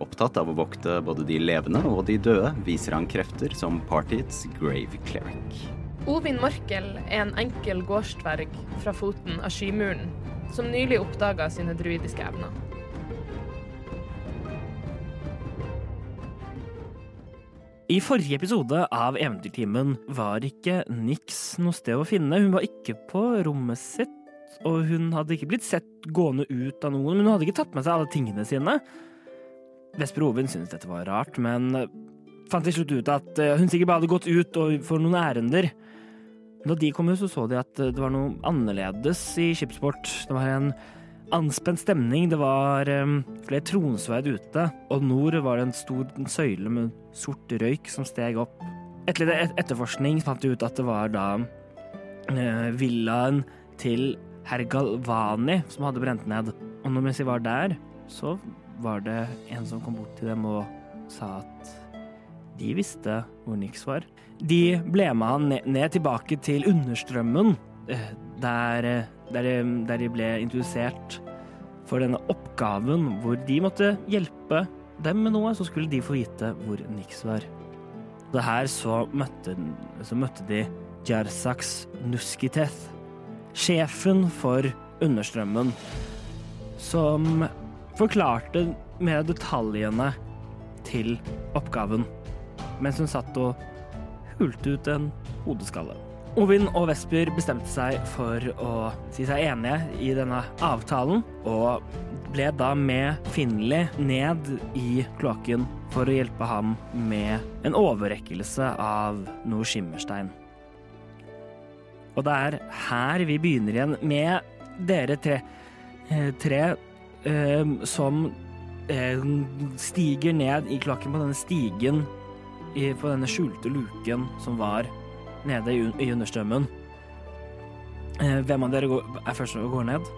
Opptatt av å vokte både de levende og de døde, viser han krefter som partiets grave cleric. Ovin Mørkel er en enkel gårdsdverg fra foten av Skymuren, som nylig oppdaga sine druidiske evner. I forrige episode av Eventyrtimen var ikke Nix noe sted å finne. Hun var ikke på rommet sitt, og hun hadde ikke blitt sett gående ut av noen, men hun hadde ikke tatt med seg alle tingene sine. Vesper Ovin syntes dette var rart, men eh, fant til slutt ut at eh, hun sikkert bare hadde gått ut og for noen ærender. Da de kom ut, så så de at eh, det var noe annerledes i skipsport. Det var en anspent stemning, det var eh, flere tronsverd ute, og nord var det en stor søyle med sort røyk som steg opp. Etter litt et- etterforskning fant de ut at det var da eh, villaen til herr Galvani som hadde brent ned. Og når mens de var der, så var det en som kom bort til dem og sa at de visste hvor Nix var. De ble med han ned, ned tilbake til understrømmen, eh, der, eh, der, de- der de ble introdusert for denne oppgaven hvor de måtte hjelpe dem med noe, så skulle de få vite hvor Nix var. Det her så møtte, så møtte de Jarsaks Nuskiteth, sjefen for understrømmen, som forklarte med detaljene til oppgaven, mens hun satt og hulte ut en hodeskalle. Ovin og Vesper bestemte seg for å si seg enige i denne avtalen, og ble da med Finley ned i kloakken for å hjelpe ham med en overrekkelse av noe skimmerstein. Og det er her vi begynner igjen med dere tre, eh, tre eh, som eh, stiger ned i kloakken på denne stigen, i, på denne skjulte luken som var nede i, un- i understrømmen. Eh, hvem av dere går, er først og går ned?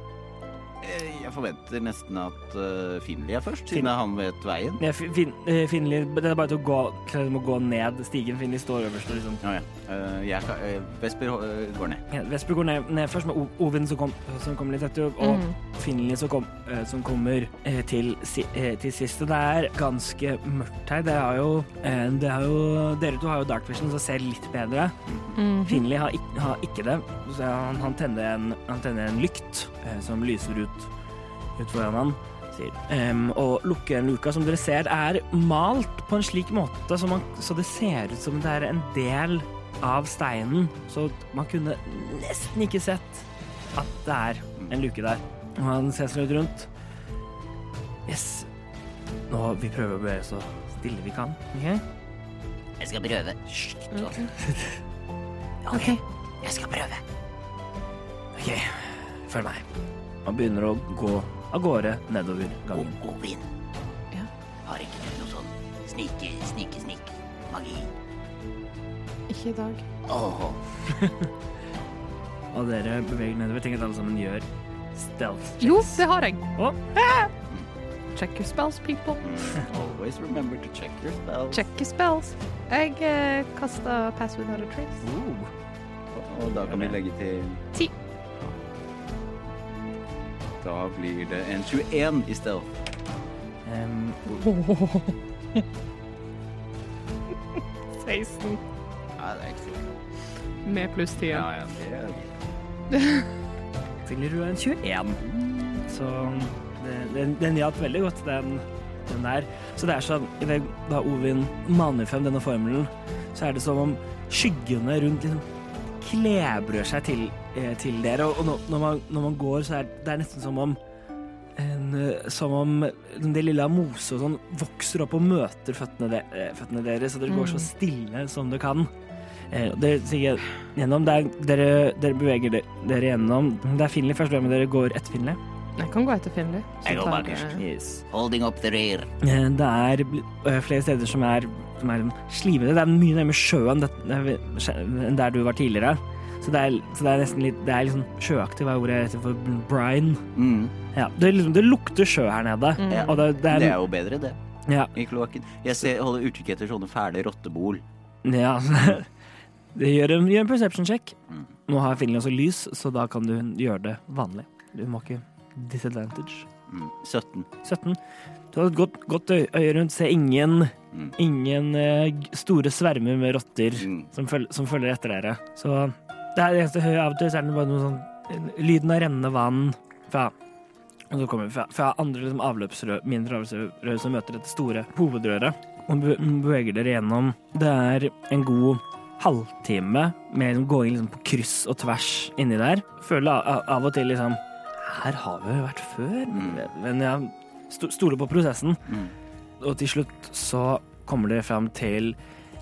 Eh, Jeg forventer nesten at uh, Finley er først, siden han vet veien. Nei, Fin- fin, eh, Finli, det er bare til å gå, til å gå ned stigen. Finli står øverst og liksom Å ja. Eh, jeg kan, eh, Vesper eh, går ned. ja, Vesper går ned, ned først med O- Ovin som kom- som kommer litt etter, og Finli som, kom, eh, som kommer eh, til, si, eh, til sist. Og det er ganske mørkt her. Det er jo, eh, det er jo Dere to har jo dark vision, så ser litt bedre. Finley har, ikk- har ikke det, så han, han, tenner en, han tenner en lykt eh, som lyser ut, ut foran han. Sier. Em, og lukker en luka som dere ser er malt på en slik måte så, man, så det ser ut som det er en del av steinen. Så man kunne nesten ikke sett at det er en luke der. Og han ser seg litt rundt. Yes. Nå, vi prøver å bevege oss så stille vi kan. ok? Jeg skal prøve. Hysj, ikke sånn. OK, jeg skal prøve. Ok, følg meg. Han begynner å gå av gårde nedover O- gangen. Ovin. Har ikke du noe sånn snike, snike, snike magi? Ikke i dag. Åh, Og dere beveger nedover. Tenk at alle sammen gjør stealth. Jo, det har jeg. Å. Ah! Check your spells, people. Mm, Always remember to check your spells. Check your spells. Jeg eh, kasta pass without a trace. Oh. Og da kan vi legge til Ti. Da blir det en 21 i stedet. Em, 16 Ja, det er ikke så med pluss 10. Ja, ja, det er Fyller du en 21? Så det- den, den hjalp veldig godt, den, den der. Så det er sånn i det, Da Ovin maner frem denne formelen, så er det som om skyggene rundt liksom klebrer seg til, eh, til dere. Og, og nå- når, man, når man går, så er det er nesten som om en, eh, som om liksom, det lille mose og sånn vokser opp og møter føttene, de, eh, føttene deres, og dere går så stille som dere kan. Eh, og Dere, stiger gjennom, der, dere, dere beveger de- dere gjennom. Det er Finley først, hvem av dere går etter Finley? Jeg kan gå etter Finley. Jeg går bakerst. Yes. holding up the rear. Eh, Det er bl- eh, flere steder som er som er liksom slimete. Det er mye nærmere sjøen det- enn der du var tidligere. Så det er, så det er nesten litt Det er liksom sjøaktig, hva er ordet jeg heter for brine? Mm. Ja, det, er liksom, det lukter sjø her nede. Mm. Ja. Og det, det Det er, er jo bedre, det. ja, I kloakken. Jeg ser, holder utkikk etter sånne fæle rottebol. ja. Det gjør en, gjør en perception check. Mm. Nå har Finley også lys, så da kan du gjøre det vanlig. Du må ikke disadvantage. Mm. 17. 17. Du har et godt, godt øy- øye rundt, ser ingen, Mm. ingen eh, g- store svermer med rotter Mm. som, føl som følger etter dere. Så det er det eneste høye av og til, så er det bare noe sånn Lyden av rennende vann fra og så kommer vi fra, fra andre liksom, avløpsrør, mindre avløpsrør som møter dette store hovedrøret. Og be- beveger dere gjennom. Det er en god halvtime med liksom, gåing liksom, på kryss og tvers inni der. Føler av, av og til liksom Her har vi jo vært før, men- men jeg sto- stoler på prosessen. Mm. Og til slutt så kommer dere fram til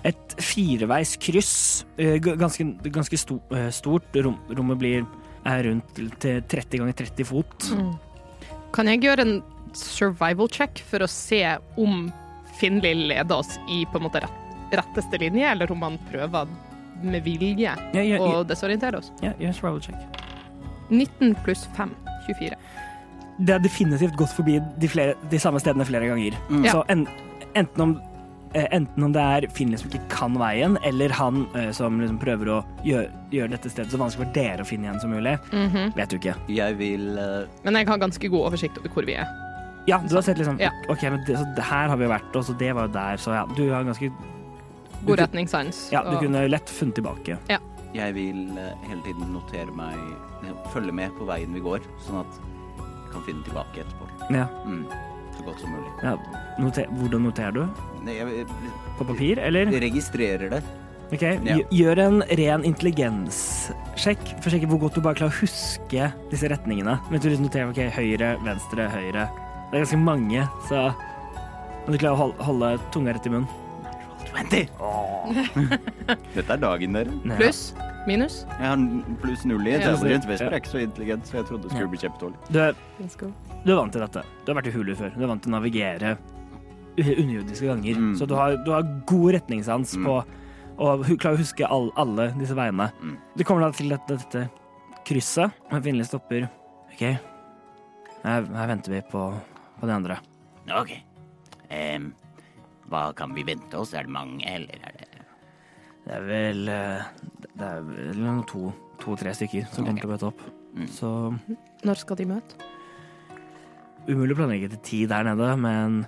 et fireveis kryss. Eh, g- Ganske, ganske sto, eh, stort. Rom, rommet blir er rundt til 30 ganger 30 fot. Kan jeg gjøre en survival check for å se om Finley leder oss i på en måte rett- retteste linje, eller om han prøver med vilje Ja, gjør, å desorientere oss? ja, gjør en survival check. 19 pluss 5, 24. Det er definitivt gått forbi de, flere, de samme stedene flere ganger. Mm. Så en, enten, om, eh, enten om det er Finley som ikke kan veien, eller han eh, som liksom prøver å gjøre, gjøre dette stedet så vanskelig for dere å finne igjen som mulig, vet du ikke. Jeg vil eh, Mhm. Men jeg har ganske god oversikt over hvor vi er. Ja, du har sett liksom Ja. OK, men det, så det her har vi vært, og så det var jo der, så ja. Du har ganske God Du- retningssans. Ja, du og- kunne lett funnet tilbake. Jeg vil eh, hele tiden notere meg eh, Følge med på veien vi går, sånn at jeg kan finne tilbake etterpå. Ja. Mm. Så godt som mulig. ja. Noter, hvordan noterer du? Nei, Jeg På papir, eller? jeg registrerer det. Ok, gj- Gjør en ren intelligenssjekk for å sjekke hvor godt du bare klarer å huske disse retningene. Mens du liksom noterer ok, høyre, venstre, høyre. Det er ganske mange, så Men du klarer å holde, holde tunga rett i munnen. 20! Dette er dagen, dere. Ja. Pluss? Minus? Jeg har en pluss null i. Ja. Orientert Vesper er ikke så intelligent, så jeg trodde det skulle bli kjempedårlig. Du, er- du er vant til dette. Du har vært i hulu før. Du er vant til å navigere u- underjordiske ganger. Mm. Så du har, du har god retningssans Mm. på å hu- klare å huske all, alle disse veiene. Mm. Du kommer da til dette, dette krysset, og Finli stopper. OK, her, her venter vi på, på de andre. Ok. Em, hva kan vi vente oss? Er det mange, eller er det Det er vel eh, Det er vel noen to, to-tre stykker som kommer til å møte opp. Mm. Så Når skal de møte? umulig å planlegge til tid der nede, men,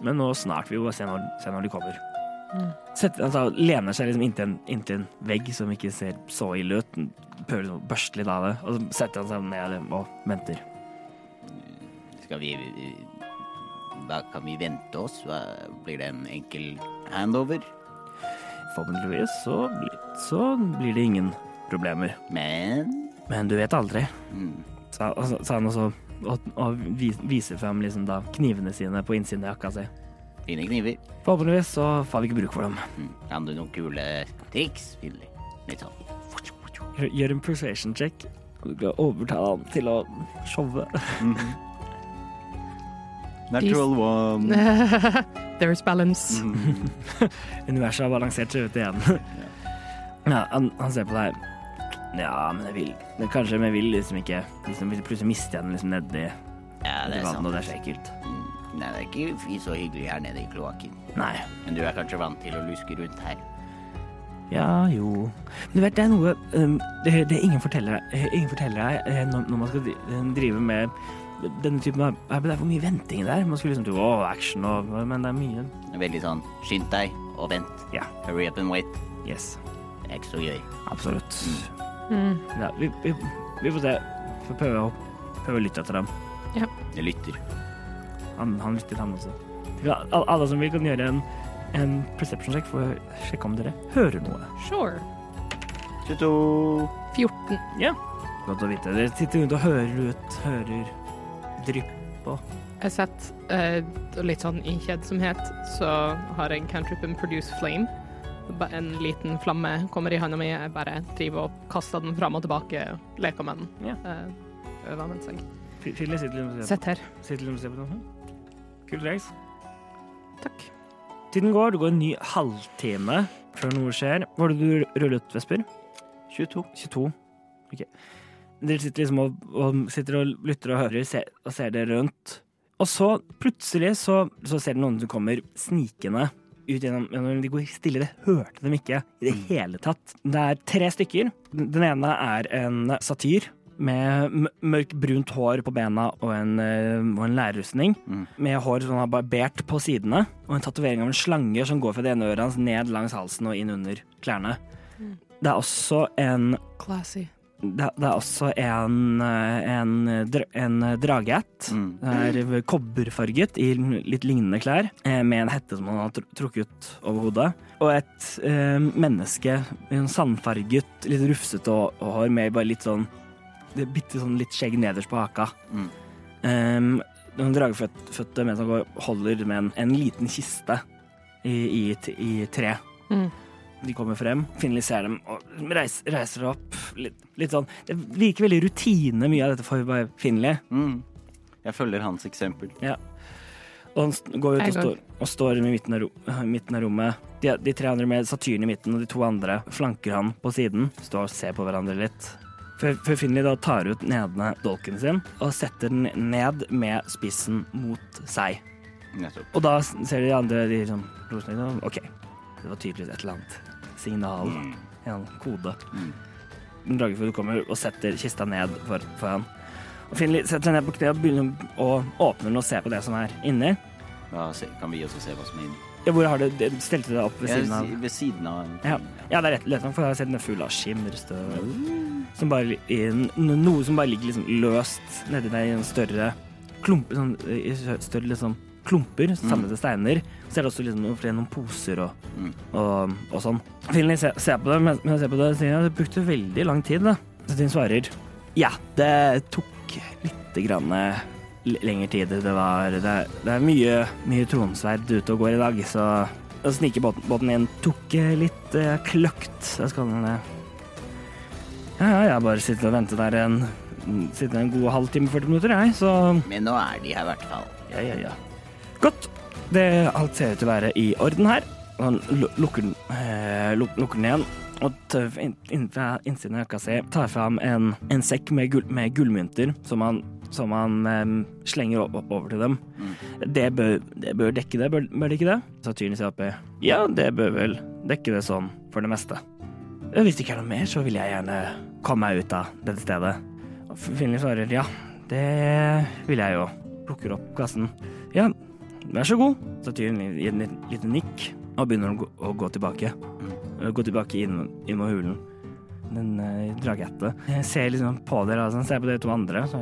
men nå snart vil vi bare se når, se når de kommer. Sett, altså, lener seg liksom inntil en, inntil en vegg som ikke ser så ille ut. Prøver liksom å børste litt av det, og så setter han seg ned liksom og venter. Skal vi Hva kan vi vente oss? Hva, blir det en enkel handover? Forhåpentligvis så, blir- så blir det ingen problemer. Men hmm, Men du vet aldri, Mm. sa, og så- sa han også, og, og vi- viser frem liksom da knivene sine på innsiden av jakka si. fine kniver. Forhåpentligvis så får vi ikke bruk for dem. Mm. Kan du noen kule triks? Finley? Litt sånn Gjør en persuasion check. Du kan overtale han til å showe. Natural one. There's balance. Mhm. Universet har balansert seg ut igjen. ja, han, han ser på deg. Ja, men jeg vil men Kanskje, men jeg vil liksom ikke liksom, Plutselig mister jeg den liksom nedi Ja, det nedi er vannet, og sant. det er så ekkelt. Mm. Nei, det er ikke fy så hyggelig her nede i kloakken. Nei. Men du er kanskje vant til å luske rundt her. Ja, jo Men du vet, det er noe um, det, det ingen forteller deg, ingen forteller deg eh, når, når man skal dri- eh, drive med denne typen av arbeid. Det er for mye venting der. Man skulle liksom tro å, action og Men det er mye Veldig sånn skynd deg og vent. Ja. Hurry up and wait. Yes. Det er ikke så gøy. Absolutt. Mm. Ja, vi, vi, vi får se. Får prøve å, prøve å lytte etter dem. Jeg lytter. Han, han lytter, han også. Vi kan- al- Alle som vil, kan gjøre en, en perception check for å sjekke om dere hører noe. Sure. 22. 14. Godt å vite. Dere sitter rundt og hører ut, hører drypp. Jeg setter eh, litt sånn i kjedsomhet, så har jeg cantripen produce flame. Ba- En liten flamme kommer i handa mi, jeg bare driver og kaster den fram og tilbake, leker med den. Ja. Eh, øver mens jeg Fille sitter liksom og ser på- sitter her. sitter liksom og ser på noe. Kult reis. Takk. Tiden går, det går en ny halvtime før noe skjer. Hva var det du rullet, Vesper? 22. 22? Ok. Dere sitter liksom og, og, sitter og lytter og hører se, og ser dere rundt. Og så plutselig så, så ser dere noen som kommer snikende ut gjennom, gjennom De går stille, det hørte dem ikke i det hele tatt. Det er tre stykker. Den den ene er en satyr. Med m- mørkt brunt hår på bena og en, eh, og en lærerrustning. Mm. Med hår som han har barbert på sidene, og en tatovering av en slange som går fra det ene øret hans ned langs halsen og inn under klærne. Det er også en Classy. det, det er også en, eh, en, dra- en dragehatt. Mm. Det Er kobberfarget i litt lignende klær, eh, med en hette som han har tr- trukket ut over hodet. Og et eh, menneske i en sandfarget, litt rufsete hå- hår med bare litt sånn det er Bitte sånn litt skjegg nederst på haka. Mm. Um, noen dragefødte mens han går, holder med en, en liten kiste i, i, t- i tre. Mm. De kommer frem, Finley ser dem og reiser, reiser opp. Litt, litt sånn. Det virker veldig rutine, mye av dette for bare Finley. Mm. Jeg følger hans eksempel. Og han st- går ut Jeg og går. står, og står i midten av, ro, midten av rommet. De, de tre andre med Satyren i midten, og de to andre flanker han på siden. Står og ser på hverandre litt. Før, før Finley da tar ut nedene dolken sin og setter den ned med spissen mot seg. Nettopp. Og da ser de andre de liksom, rosene litt, og, OK, det var tydeligvis et eller annet signal, Mm. en kode. Mm. Dragefugl kommer og setter kista ned for, for han. Og Finley setter seg ned på kne og begynner å åpne den og se på det som er inni. Da se- kan vi også se hva som er inni. Ja, hvor har du det- Stelte du deg opp ved Jeg siden av si- Ved siden av en Ja, ja det er rett, lett nok, for jeg har sett den er full av skimmerstøv. Som bare, i en- noe som bare ligger liksom løst nedi der i en større klumper, sånn, i større liksom klumper, samlede steiner. Så er det også liksom noen, flere noen poser og, Mm. og, og sånn. Finley ser, ser på det, men men ser på det og sier at det brukte veldig lang tid, da. Så Tinn svarer ja, det tok litt grann eh, l- lengre tid. Det var Det, er- det er mye, mye tronsverd ute og går i dag, så å snike båten, båten inn tok eh, litt eh, kløkt. Da skal den eh, Ja, ja, jeg har bare sittet og ventet der en Sittet en god halvtime, 40 minutter, jeg, så Men nå er de her i hvert fall. Ja, ja, ja. Godt. Det alt ser ut til å være i orden her. Og Han lu- lukker den, eh, luk- lukker den igjen og tøv inn, inn fra innsiden av jakka si tar fram en, en sekk med, gull, med gullmynter som han, som han em, slenger opp, opp over til dem. Mm. Det, bør, det bør dekke det, bør, bør det ikke det? Sa tyren seg oppi. Ja, det bør vel dekke det sånn for det meste. Eh, Hvis det ikke er noe mer, så vil jeg gjerne komme meg ut av dette stedet. Og Finley svarer ja, det vil jeg jo plukker opp kassen. Ja, vær så god. Så tyren gir den et lite nikk og begynner å gå, å gå tilbake. Eh, Gå tilbake inn, inn mot hulen. Den eh, dragehette. Jeg ser liksom på dere, altså. Ser på de to andre. Så,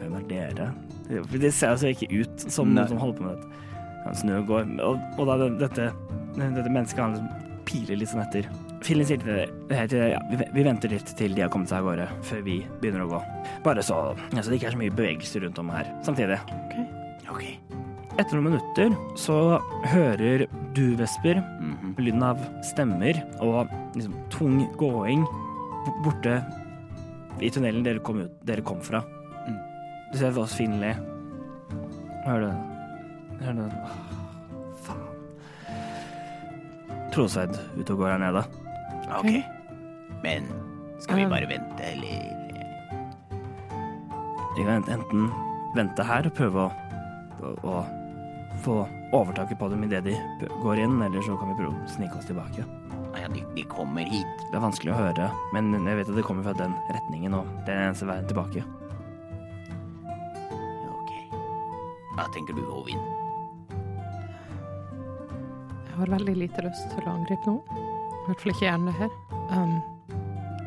Hvem er dere? Det- for Det ser altså ikke ut som Nei. noen som holder på med dette. Han snur og går, og, og da den- dette, dette mennesket han liksom piler litt sånn etter. Fillen sier til dere til, ja, vi, vi venter litt til de har kommet seg av gårde, før vi begynner å gå. Bare så, ja, så det ikke er så mye bevegelse rundt om her samtidig. Ok. Etter noen minutter så hører du, Vesper, Mm-hmm. Mhm. lyden av stemmer og liksom tung gåing b- borte i tunnelen dere kom, ut, dere kom fra. Mm. Du ser oss Finley. Hører du Hører du Åh, Faen. Trosveid ute og går her nede. Ok. Men skal vi Um. bare vente, eller? Vi kan enten vente her og prøve å, å, å få overtaket på dem idet de p- går inn, eller så kan vi prøve å snike oss tilbake. Ja, de, de kommer hit. Det er vanskelig å høre, men jeg vet at det kommer fra den retningen, og det er den eneste veien tilbake. Ok. Hva tenker du, Ovin? Jeg har veldig lite lyst til å angripe noen. I hvert fall ikke gjerne det her. Um,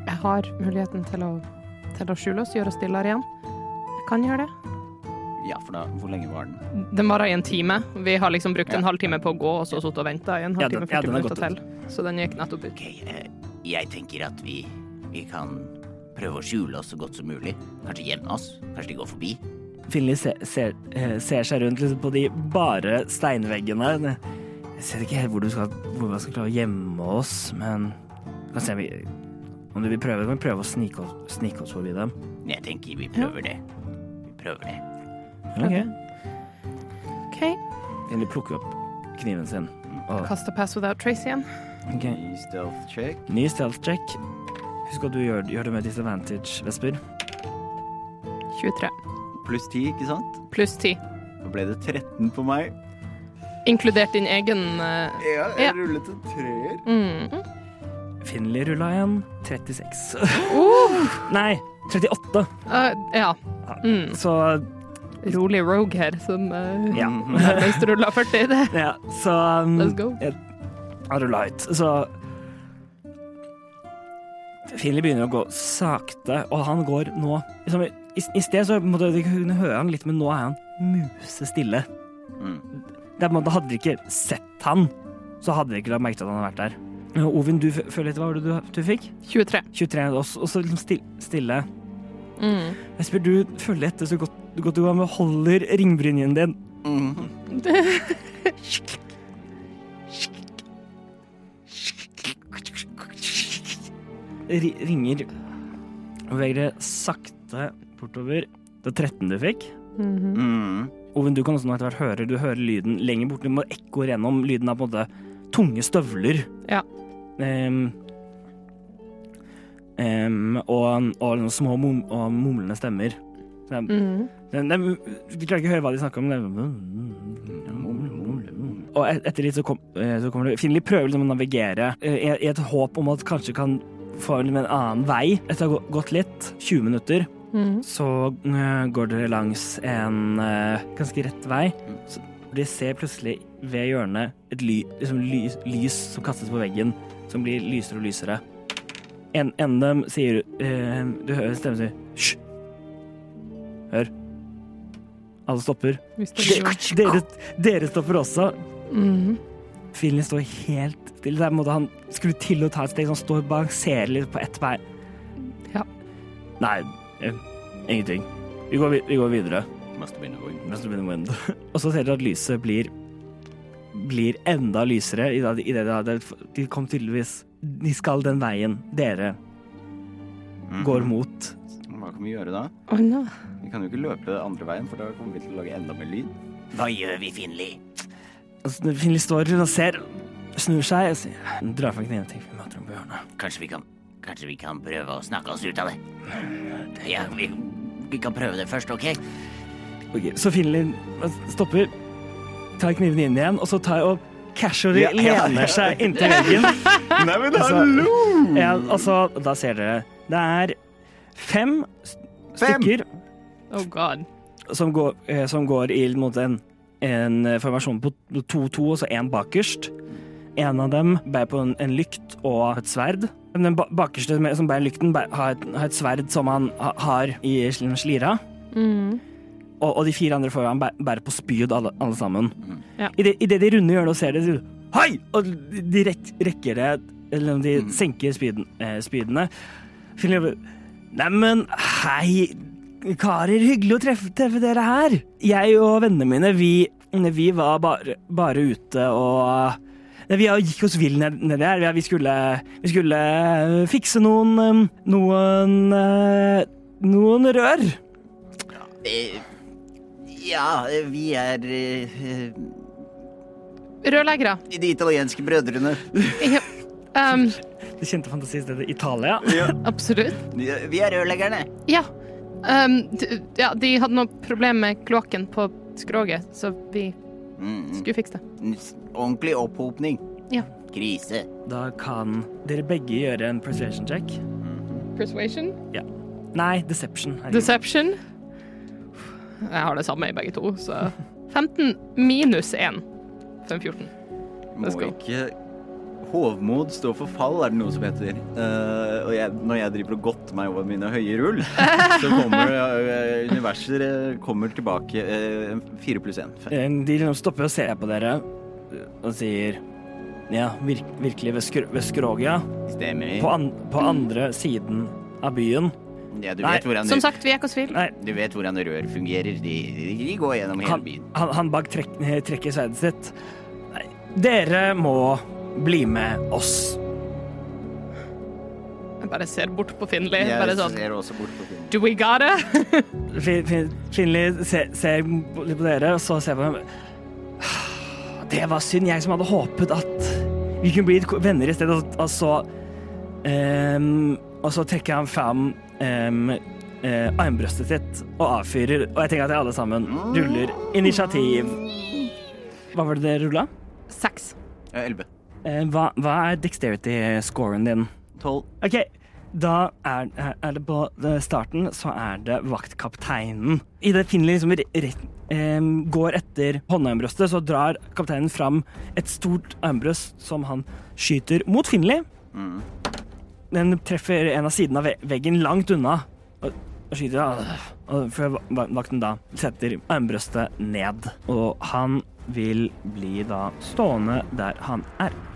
jeg har muligheten til å, til å skjule oss, gjøre oss stillere igjen. Jeg kan gjøre det. Ja, for da Hvor lenge var den? Den varer i en time. Vi har liksom brukt Ja. en halvtime på å gå, og så sittet og venta i en Ja, den- ja, den halvtime, 40 er minutter godt til. Så den gikk nettopp ut. Ok, eh, jeg tenker at vi, vi kan prøve å skjule oss så godt som mulig. Kanskje gjemme oss? Kanskje de går forbi? Finley ser, ser, eh, ser seg rundt liksom på de bare steinveggene. Jeg ser ikke helt hvor, du skal, hvor man skal klare å gjemme oss, men vi kan se om vi, om du vil prøve, kan vi prøve å snike oss, snike oss forbi dem. Men jeg tenker vi prøver det. Vi prøver det. Ok. Ok. Finley plukker opp kniven sin. Mm. og Kasta pass without trace igjen. Ok. Ny stealth check. Ny stealth check. Husk at du gjør, gjør det med disadvantage, Vesper. 23. Pluss 10, ikke sant? Pluss 10. Da ble det 13 på meg. Inkludert din egen eh, Ja, Ja. jeg rullet en treer. mm. Finley rulla igjen 36. Nei, 38. Eh, Ja. Mm. Så Rolig rogue her, som eh, ja. nærmest rulla 40. Det. ja så um, Let's go. har rulla ut. Så Finley begynner å gå sakte, og han går nå liksom, I, i sted så måtte du kunne høre han litt, men nå er han musestille. Mm. Det er på en måte, Hadde dere ikke sett han, så hadde dere ikke lagt merke til at han hadde vært der. Men Ovin, du f- føler litt Hva var det du, du fikk? 23. 23, og så- og så liksom stille. stille. Mm. Esper, du følger etter så godt, godt du kan, men holder ringbrynjen din. Mm. Ri- ringer og beveger deg sakte bortover. Det er 13 du fikk. Mm-hmm. Mm. Oven, du kan også nå etter hvert høre Du hører lyden lenger borte. Du må ekkoer gjennom. Lyden av på en måte tunge støvler. Ja. Ehm, ehm, og, og noen små mum, og mumlende stemmer. Så det er- Mm. det- det- Vi klarer ikke å høre hva de snakker om. det er- Og et- etter litt så, kom, eh, så kommer det Finley prøver liksom å navigere eh, i i et håp om at kanskje kan få en en annen vei. Etter å ha gå- gått litt, 20 minutter, Mm. så eh, går dere langs en eh, ganske rett vei. Så dere ser plutselig ved hjørnet et ly, liksom lys, lys som kastes på veggen, som blir lysere og lysere. En, en av dem sier eh, Du hører stemmen si Hysj! Hør. Alle stopper. Hvis det Dere, blir- dere, dere stopper også. Mm. Filien står helt stille. Det er en måte han skulle til å ta et steg, så han står og balanserer litt på ett bein. Ja. Nei, eh, ingenting. Vi går, vi- vi går videre. Must have been a win. Mens du begynner med den. Og så ser dere at lyset blir blir enda lysere i det, i det, det- de kom tydeligvis De skal den veien dere Mm. går mot. Hva kan vi gjøre da? Å, no. Vi kan jo ikke løpe andre veien, for da kommer vi til å lage enda mer lyd. Hva gjør vi, Finley? Altså, Finley står og ser, snur seg og sier Drar fram kniven vi møter ham på hjørnet. Kanskje vi kan Kanskje vi kan prøve å snakke oss ut av det? Ja, vi, vi kan prøve det først, OK? Ok, så Finlin stopper, tar kniven inn igjen, og så tar og casually Ja, ja. lener seg inntil veggen. Nei, men Altså- hallo! Ja, altså, da ser dere. Det er fem, s- Fem! stykker oh god. som går, eh, som går i mot en, en formasjon på 2-2, altså én bakerst. En av dem bærer på en, en lykt og et sverd. Men Den ba- bakerste med- som bærer lykten, bæ- har et, har et sverd som han ha- har i sl- slira. Mm. Og, og de fire andre foran bæ- bærer på spyd, alle, alle sammen. Ja. I det- i det de runder hjørnet og ser det, sier de, Hei! Og de rek, rekker det Eller om de senker spyden, eh, spydene. Finner de Neimen, hei, karer. Hyggelig å treffe, treffe dere her. Jeg og vennene mine, vi, vi var bare, bare ute og Nei, Vi gikk oss vill ned- nedi her. Vi skulle, vi skulle eh, fikse noen eh, Noen eh, Noen rør. Eh, ja, eh, vi er eh, Rørleggere. eh, de italienske brødrene. Ja. Um, Det kjente fantasistedet Italia. absolutt. Vi er- Vi er rørleggerne. Ja. Um, d- ja, de hadde noe problem med kloakken på skroget, så vi Mm, skulle fikse det. mm, s- ordentlig opphopning. Ja. Krise. Da kan dere begge gjøre en persuasion check. Persuasion? Nei, deception. herregud. Deception? Jeg har det samme i begge to, så 15 minus 1. 514. Må Let's go. ikke hovmod stå for fall, er det noe som heter. Eh, og jeg, når jeg driver og godter meg over mine høye rull, så kommer eh, universer eh, kommer tilbake eh, fire pluss én. Fem. Eh, De liksom stopper og ser på dere eh, og sier Ja, virk, virkelig ved, skr ved skroget, ja. På, Stemmer. an på andre siden av byen. Ja, du Nei, vet, hvordan, Som rør- sagt, vi gikk oss vill. Nei, du vet hvordan rør fungerer. De, de de går gjennom hele han, byen. han, han bak trekk, trekker sverdet sitt. Nei, dere må bli med oss. Jeg bare ser bort på Finley. Bare Jeg sånn ser også bort på filmen. Do we got it? Fin- fin- Finley ser, ser litt på dere, og så ser på dem. Det var synd, jeg som hadde håpet at vi kunne bli venner i stedet, og så ehm, Og så trekker han fram ehm, eh, armbrøstet sitt og avfyrer, og jeg tenker at jeg alle sammen ruller initiativ. Hva var det dere rulla? Seks. Elleve. Eh, hva, hva er dexterity-scoren din? Tolv. OK, da er, er- er det på eh, starten så er det vaktkapteinen. Idet Finley liksom re- rett, em, går etter håndarmbrøstet, så drar kapteinen fram et stort armbrøst som han skyter mot Finley. Den treffer en av sidene av ve- veggen langt unna og, og skyter av. Og før va- vakten da setter armbrøstet ned. Og han vil bli da stående der han er og,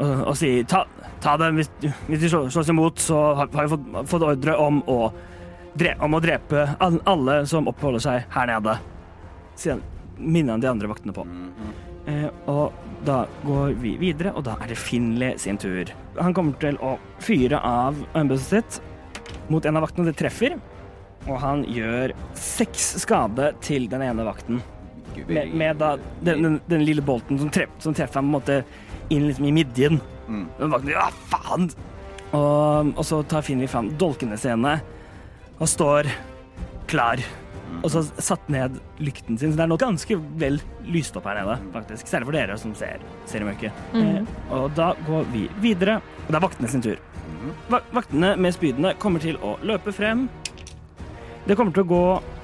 Øh, og sier ta, ta dem hvis, hvis de slår, slår seg imot, så har, har vi fått, fått ordre om å, dre, om å drepe all- alle som oppholder seg her nede. Sier han, minner han de andre vaktene på. Eh, og da går vi videre, og da er det Finley sin tur. Han kommer til å fyre av armbøstet sitt mot en av vaktene, og det treffer. Og han gjør seks skade til den ene vakten med, med da, den, den, den lille bolten som, treff, som treffer ham på en måte inn liksom i midjen. Mm. Og vakten, ja, faen! Og, og så tar Finley fram dolkene sine og står klar. Og så satt ned lykten sin, så det er nå ganske vel lyst opp her nede, faktisk. Særlig for dere som ser, ser i mørket. Eh, og da går vi videre. Og det er vaktene sin tur. Va vaktene med spydene kommer til å løpe frem. Det kommer til å gå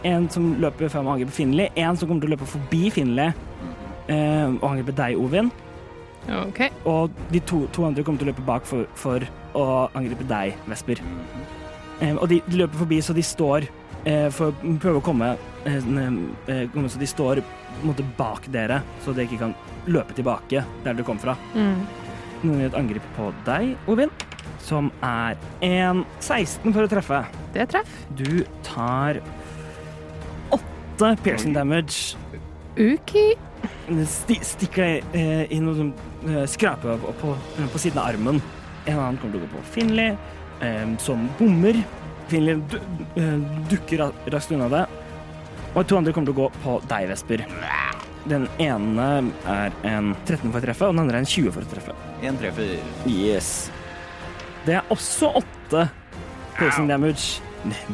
en som løper frem og angriper Finley, en som kommer til å løpe forbi Finley eh, og angripe deg, Ovin. OK. Og de to, to andre kommer til å løpe bak for, for å angripe deg, Vesper. Eh, og de, de løper forbi, så de står eh, for å prøve å komme eh, n- eh, komme- Så de står på en måte bak dere, så dere ikke kan løpe tilbake der du kom fra. Mm. Noen gjør et angrep på deg, Ovin, som er en 16 for å treffe. Det treff. Du tar åtte piercing damage. Uki. Sti, stikker deg eh, inn og eh, skraper på, på, på siden av armen. En annen kommer til å gå på Finley, eh, som bommer. Finley du, eh, dukker ra- raskt unna det. Og to andre kommer til å gå på deg, Vesper. Den ene er en 13 for å treffe, og den andre er en 20 for å treffe. En treffer. Yes. Det er også åtte piercing damage.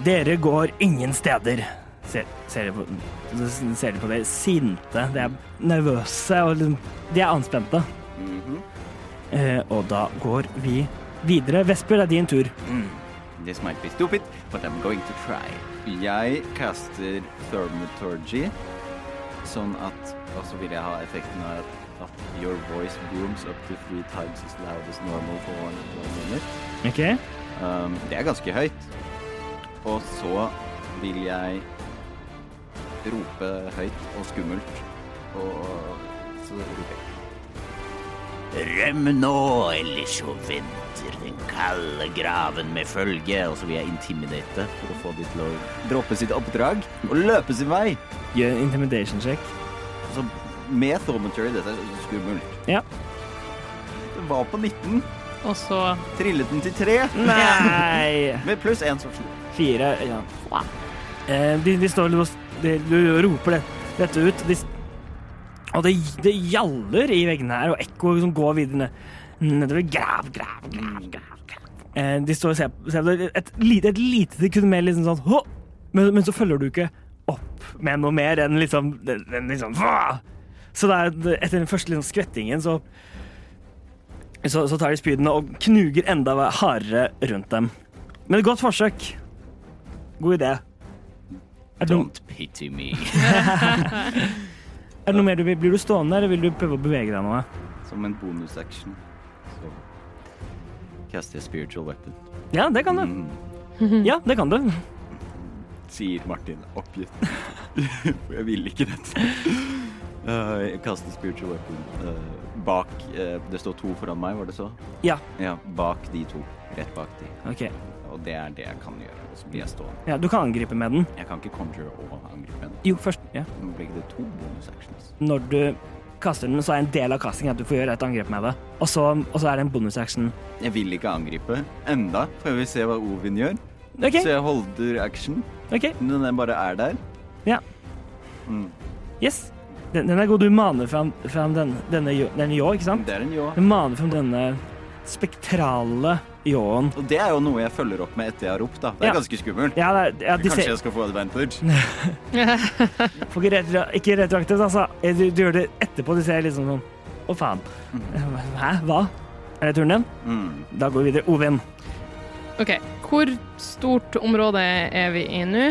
Dere går ingen steder. Ser, ser dere på, så ser dere på det sinte. De er nervøse og liksom- de er anspente. Mhm. eh, og da går vi videre. Vesper, det er din tur. This might be stupid, but I'm going to try. Jeg caster thermaturgy, sånn at Og så vil jeg ha effekten av at your voice booms up to three times as loud as normal for one, one minute. Ok? Um, det er ganske høyt. Og så vil jeg rope høyt og skummelt, og så roper jeg. Røm nå, ellers så venter den kalde graven med følge. Og så vil jeg intimidate for å få de til å Droppe sitt oppdrag og løpe sin vei. Gjør en intimidation check. Så med thaumaturgy, dette er så skummelt. Ja. Det var på 19, Og så trillet den til 3, Nei! med pluss 1 som slo. Fire. Ja. Eh, de, de står og de, de roper det, dette ut. De, s- og det, det gjaller i veggene her, og ekko som går videre ned, nedover. Grav, grav, grav, grav, grav. Eh, de står og ser, ser på det. Et lite, et lite sekund mer liksom sånn Hå! Men, men så følger du ikke opp med noe mer enn liksom, enn liksom «Hå!» Så det er, etter den første liksom, skvettingen så, så, så tar de spydene og knuger enda hardere rundt dem. Men et godt forsøk. God idé. Er det, noe, Don't pity me. er det noe mer du vil? Blir du stående, eller vil du prøve å bevege deg noe? Som en bonusaction. Så caster jeg spiritual weapon. Ja, det kan du. Mm, Ja, det kan du. sier Martin oppgitt. For jeg ville ikke dette. Uh, jeg kaster spiritual weapon uh, bak uh, Det står to foran meg, var det så? Ja. Ja, bak de to. Rett bak de. Ok. Og det er det jeg kan gjøre. Og så blir jeg stående. Ja, du kan angripe med den. Jeg kan ikke conjure og angripe henne. Jo, først ja. Nå blir det to bonusactions. Når du kaster den, så er en del av castingen at du får gjøre et angrep med det. Og så, og så er det en bonusaction. Jeg vil ikke angripe enda, for jeg vil se hva Ovin gjør. OK. Så jeg holder action. ok, Men den bare er der. Ja. Mm. Yes. Den, den er god. Du maner fram, fram den, denne ljå, den ljå, ikke sant? Det er en ljå. Du maner fram denne spektrale ljåen. Og det er jo noe jeg følger opp med etter jeg har ropt, da. Det er Ja. ganske skummelt. Ja, det er- ja, de Kanskje ser, jeg skal få advantage? får ikke, retro, ikke retroaktivt, altså. Du, du gjør det etterpå. De ser liksom sånn Å, faen. Hæ? Hva? Er det turen din? Mm. Da går vi videre. Ovin. OK. Hvor stort område er vi i nå?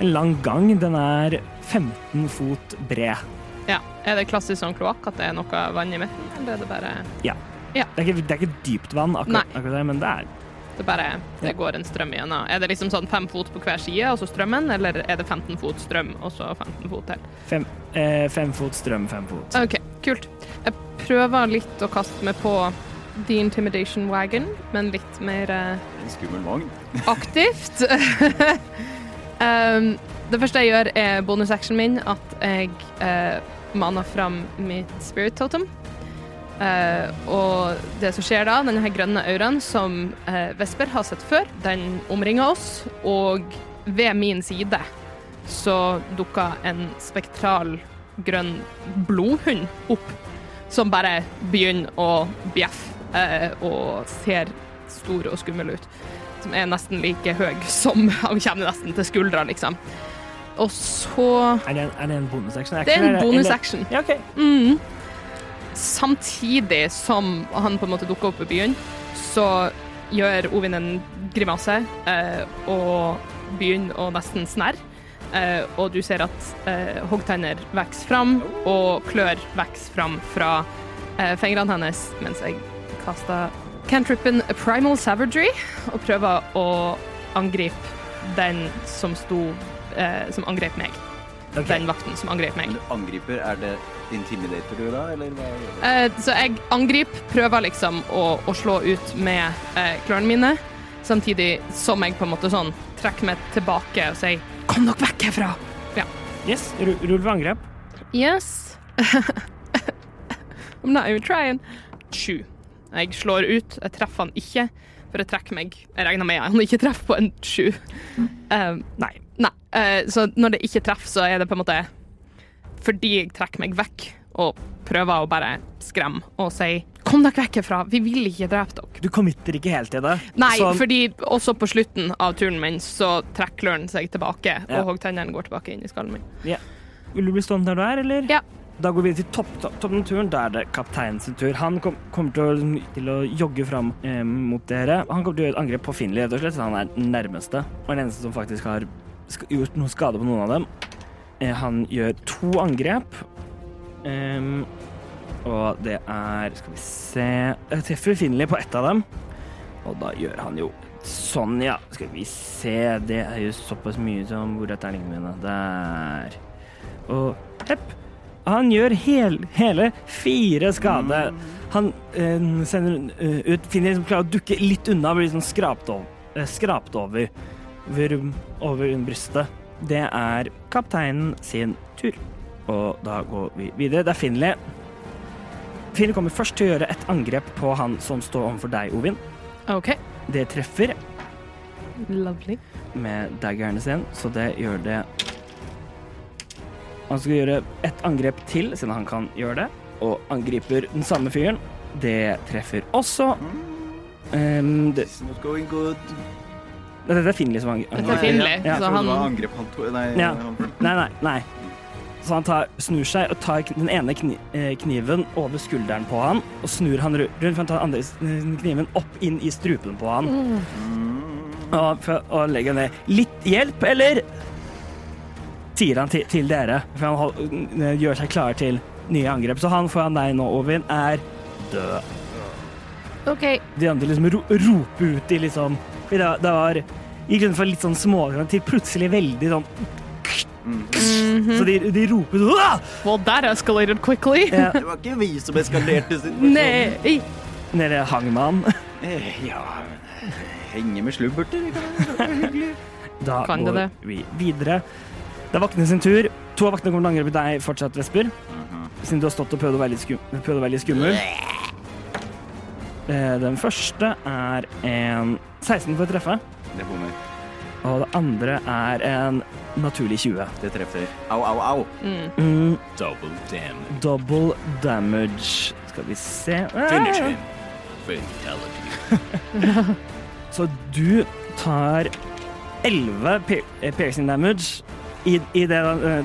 En lang gang. Den er 15 fot bred. Ja. Er det klassisk sånn kloakk at det er noe vann i midten, eller er det bare Det er ikke, det er ikke dypt vann, akkurat, akkurat der, men det er Det bare det går en strøm igjennom. Er det liksom sånn fem fot på hver side, og så strømmen, eller er det 15 fot strøm, og så 15 fot til? fem, eh, fem fot strøm, fem fot. OK, kult. Jeg prøver litt å kaste meg på The Intimidation Wagon, men litt mer eh, En skummel vogn. aktivt. um, det første jeg gjør, er bonusactionen min at jeg eh, maner fram mitt spirit totem. Eh, og det som skjer da, denne her grønne auraen som eh, Vesper har sett før, den omringer oss, og ved min side så dukker en spektral grønn blodhund opp, som bare begynner å bjeffe eh, og ser stor og skummel ut som er nesten like høy som Han kommer nesten til skuldra, liksom. Og så Er det en, er det en bonusaction? Det er Action, en eller- bonusaction. eller- Ja, ok. Mm. Samtidig som han på en måte dukker opp i byen, så gjør Ovin en grimase eh, og begynner å nesten snerre. Eh, og du ser at eh, hoggtenner vokser fram, og klør vokser fram fra eh, fingrene hennes mens jeg kaster cantrippen Primal Savagery og prøver å angripe den som sto eh, som angrep meg. Ok. Den vakten som angrep meg. Du angriper, er det intimidator du da, eller hva? gjør du? Eh, så jeg angriper, prøver liksom å, å slå ut med eh, klørne mine, samtidig som jeg på en måte sånn trekker meg tilbake og sier 'kom dere vekk herfra'. Yes, ru- rull for angrep. Yes. I'm not even trying. Sju. Jeg slår ut, jeg treffer han ikke, for jeg trekker meg. Jeg regner med at han ikke treffer på en sju. Eh, Nei. Nei, eh, så når det ikke treffer, så er det på en måte fordi jeg trekker meg vekk og prøver å bare skremme og si Kom dere vekk herfra, vi vil ikke drepe dere. Du committer ikke helt til det. Sånn- Nei, Så- fordi også på slutten av turen min så trekker klørne seg tilbake, Ja. og hoggtennene går tilbake inn i skallen min. Vil du bli stående der du er, eller? Ja. Da går vi til topp, topp, toppen av turen. Da er det kapteinens tur. Han kom, kommer til å, til å jogge fram eh, mot dere. Han kommer til å gjøre et angrep på Finley, rett og slett. så Han er den nærmeste. Og den eneste som faktisk har sk gjort noe skade på noen av dem. Eh, han gjør to angrep. Ehm, og det er Skal vi se Jeg treffer Finley på ett av dem. Og da gjør han jo sånn, ja. Skal vi se. Det er jo såpass mye som Hvor er terningene mine? Der. Og hepp. Han gjør hel, hele fire skade. Han eh, sender eh, ut Finner som klarer å dukke litt unna, blir sånn skrapt over, eh, skrapt over, over, over brystet. Det er kapteinen sin tur. Og da går vi videre. Det er Finley. Finley kommer først til å gjøre et angrep på han som står overfor deg, Ovin. OK. Det treffer Lovely. med daggerne sin, så det gjør det Han skal gjøre et angrep til, siden han kan gjøre det, og angriper den samme fyren. Det treffer også. Mm. Ehm, det, It's not going good. dette er Finley som angriper. Dette er Ja. Finley, så Jeg trodde det var han angrep liksom, han to... Nei, Ja. han- Nei, nei, nei. Så han tar, snur seg og tar kn- den ene kni, eh, kniven over skulderen på han, og snur han ru- rundt, for han tar den andre s- kniven opp inn i strupen på han. Og, for å legge ned litt hjelp, eller sier han til, til dere, for han hol- n- n- gjør seg klar til nye angrep. Så han foran deg nå, Ovin, er død. OK. De andre liksom ro, roper ut i liksom for Det, det var gikk liksom fra litt sånn smågrann til plutselig veldig sånn Mhm. Så de, de roper sånn «Åh!» Well, that escalated quickly. Ja, Det var ikke vi som eskalerte situasjonen. Nei. Nede hang man. Eh, Ja, men henge med slubberter, det kan være Mm. hyggelig. Da Kan det går det? vi videre. Det er vaktene sin tur. To av vaktene kommer til å angripe deg fortsatt, Vesper. Mhm. Siden du har stått og prøvd å være litt, skum prøvd å være litt skummel. Eh, Den første er en 16 for å treffe. Det bommer. Og det andre er en naturlig 20. Det treffer. Au, au, au. Mm. Mm, Double damage. double damage. Skal vi se Ah! Finish him. Fatality. Så du tar 11 pier- eh, piercing damage i, i det den eh,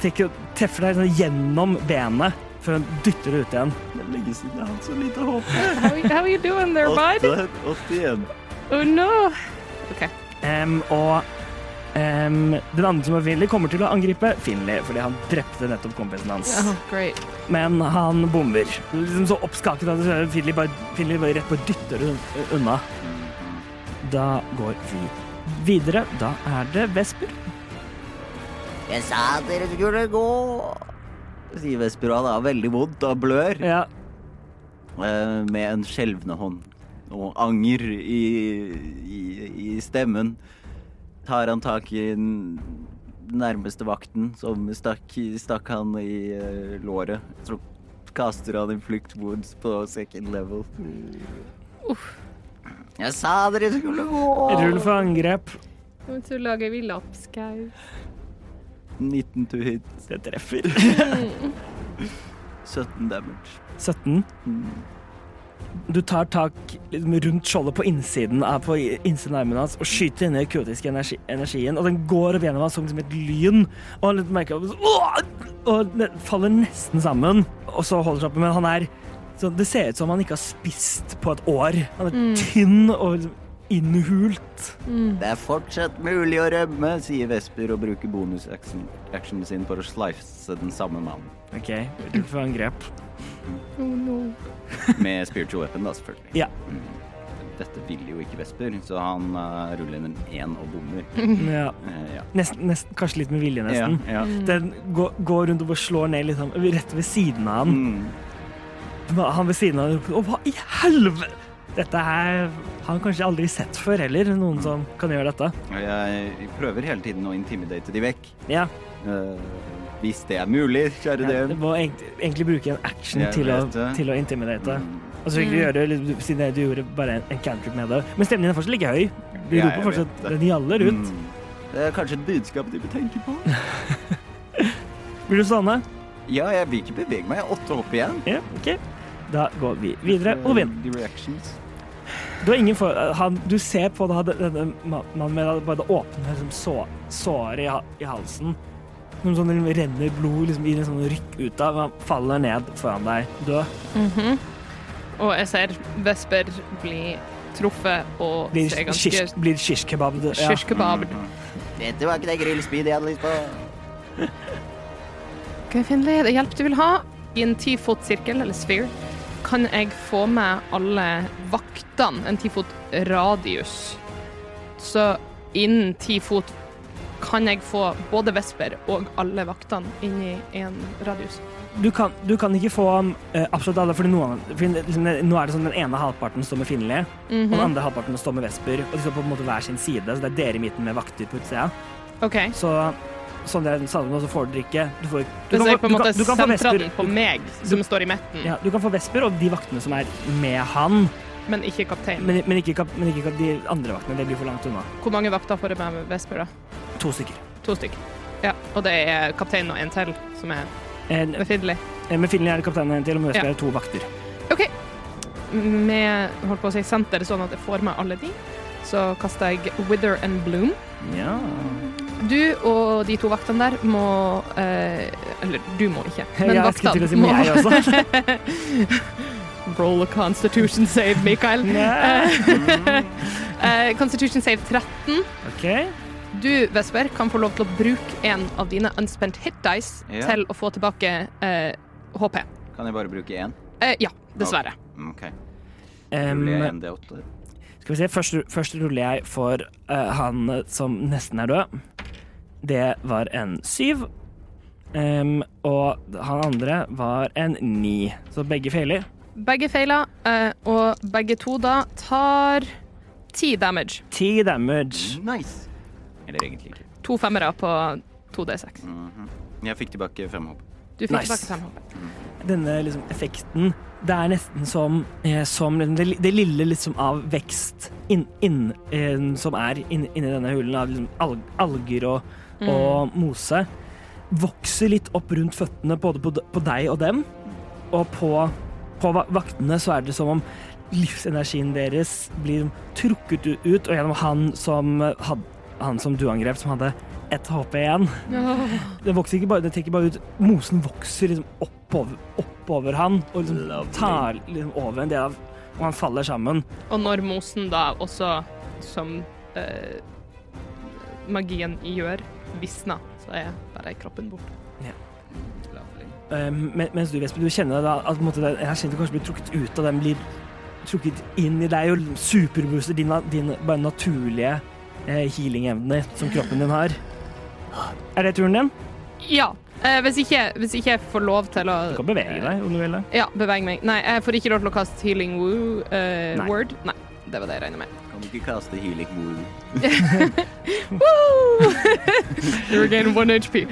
trekker- treffer deg sånn gjennom benet før den dytter det ut igjen. Det er lenge siden jeg har hatt så lite håp. How, how are you doing there, bud? 81. Oh no! Em, og em, den andre som er Finley, kommer til å angripe Finley fordi han drepte nettopp kompisen hans. Oh, great. Men han bomber. Liksom så oppskaket at Finley bare, Finley bare rett på dytter un- unna. Da går vi videre. Da er det Vesper. Jeg sa dere skulle gå. Sier Vesper, og han er veldig vondt og blør. Ja, eh, Med en skjelvende hånd og anger i, i, i stemmen tar han tak i den nærmeste vakten som stakk, stakk han i eh, låret. Så kaster han en flukt wounds på second level. Jeg sa dere skulle rull gå! for angrep. Og så lager vi lapskaus. 19 to hit, Det treffer. 17 damage. 17. Du tar tak liksom, rundt skjoldet på innsiden av på innsiden av armen hans og skyter inn i den kurdiske energi, energien, og den går opp gjennom ham som som et lyn. Og han litt merker Åh! Og ne- faller nesten sammen, og så holder seg oppe, men han er så Det ser ut som han ikke har spist på et år. Han er tynn og liksom innhult. Det er fortsatt mulig å rømme, sier Vesper og bruker bonusactionen sin for å slice den samme mannen. OK, du får angrep. Oh no. Med spiritual weapon, da, selvfølgelig. Ja. Mm. Dette vil jo ikke Vesper, så han eh, ruller inn en én og bommer. ja. Eh, ja. Nesten, nesten, kanskje litt med vilje, ja. Mm. nesten. ja. Den går, går rundt og bare slår ned liksom, rett ved siden av han. Mm. Han ved siden av roper Å, hva i helvete? Dette her har han kanskje aldri sett før heller, noen som kan gjøre dette. Og jeg prøver hele tiden å intimidate de vekk. Ja. Eh, hvis det er mulig, kjære ja, Du døm. må egent- egentlig bruke en action Jeg til å, vet det. til å intimidate. Mm. Og så fikk du gjøre det litt- siden du gjorde bare en, en cantrip med det. Men stemmen din er fortsatt like høy. Du Ja, jeg roper vet fortsatt det. Den gjaller ut. Mm. Det er kanskje et budskap de bør tenke på. Blir du stående? ja, jeg vil ikke bevege meg. Jeg er åtte hopp igjen. Ja, OK. Da går vi videre. Ovin. Eh, de reactions. Du, har ingen for, eh, han, du ser på da, denne ma- mannen med bare det åpne liksom, så, såret i, ha- i halsen. Som sånn det renner blod liksom, i en sånn rykk ut av. Han faller ned foran deg, død. Og jeg Mm-hmm. ser Vesper bli truffet og Blir ser ganske shish- blir shish-kebab. det- Ja. kyrkebabd. Dette var ikke det grillspeedet jeg hadde lyst på. Ok, Finley, det hjelp du vil ha. I en tifotsirkel, eller sphere, kan jeg få med alle vaktene en tifot radius. Så innen ti fot kan jeg få både Vesper og alle vaktene inn i en radius. Du, kan, du kan ikke få eh, absolutt alle, fordi noen, fordi, liksom, det- nå er det sånn den ene halvparten står med Finley, og Mhm. den andre halvparten står med Vesper. Og de står på en måte hver sin side, så det er dere i midten med vakter på utsida. OK. Så sånn det er sammen, så får dere ikke Du, får, du, Så jeg på en du måte du kan få sentrer den Vesper- på meg, som står i midten, Ja, du kan få Vesper og de vaktene som er med han, men ikke kapteinen. men, men, ikke, kap- men ikke kap- de andre vaktene. Det blir for langt unna. Hvor mange vakter får jeg med Vesper, da? To stykker. To stykker. Ja, og det er kapteinen og en til, som er En, Finley. Eh, med Finley er det kapteinen en til, og med Vesper Ja. er det to vakter. med holdt på å si senter, sånn at jeg får med alle de, så kaster jeg Wither and Bloom. Ja. Du og de to vaktene der må eh, Eller, du må ikke, men jeg skulle til å vaktene si må men jeg også. Roll a constitution save, Mikael. Nei. Eh, constitution save 13. OK. Du, Vesper, kan få lov til å bruke en av dine unspent hit dice Ja. til å få tilbake eh, HP. Kan jeg bare bruke én? Eh, ja, dessverre. Mm, OK. Em, Ruller jeg 1D8? skal vi se. Først, først ruller jeg for eh, han som nesten er død. Det var en syv. Em, og han andre var en ni. Så begge feiler. Begge feiler, eh, og begge to da tar ti damage. Ti damage. Nice. Eller egentlig ikke. To femmere på 2D6. Jeg fikk tilbake fem hopp. Du fikk Nice. tilbake fem HP. Denne liksom, effekten Det er nesten som, eh, som det, det lille liksom av vekst inn, inn, eh, som er inn, inni denne hulen, av liksom alg, alger og, og mose, vokser litt opp rundt føttene både på, de- på deg og dem. Og på, på va- vaktene så er det som om livsenergien deres blir trukket u- ut, og gjennom han som, eh, had, han som du angrep, som hadde ett HP igjen. Det vokser ikke bare, det trekker bare ut Mosen vokser liksom oppover, oppover han og liksom Lovely. tar liksom over en del av Og han faller sammen. Og når mosen da også, som eh, magien gjør, visner, så er bare kroppen borte. Eh, men- mens du, Vesper, du kjenner da at på en måte, den energien kanskje blir trukket ut, og den blir trukket inn i deg og liksom superbooster din, din bare naturlige eh, healing-evne som kroppen din har. Er det turen din? Ja. eh, hvis, ikke, hvis ikke jeg får lov til å eh, Du kan bevege deg om du vil. det. Ja, bevege meg. Nei, jeg får ikke lov til å kaste healing woo eh, Nei. word. Nei, det var det jeg regna med. Kan du ikke kaste healing woo? You regain one HP.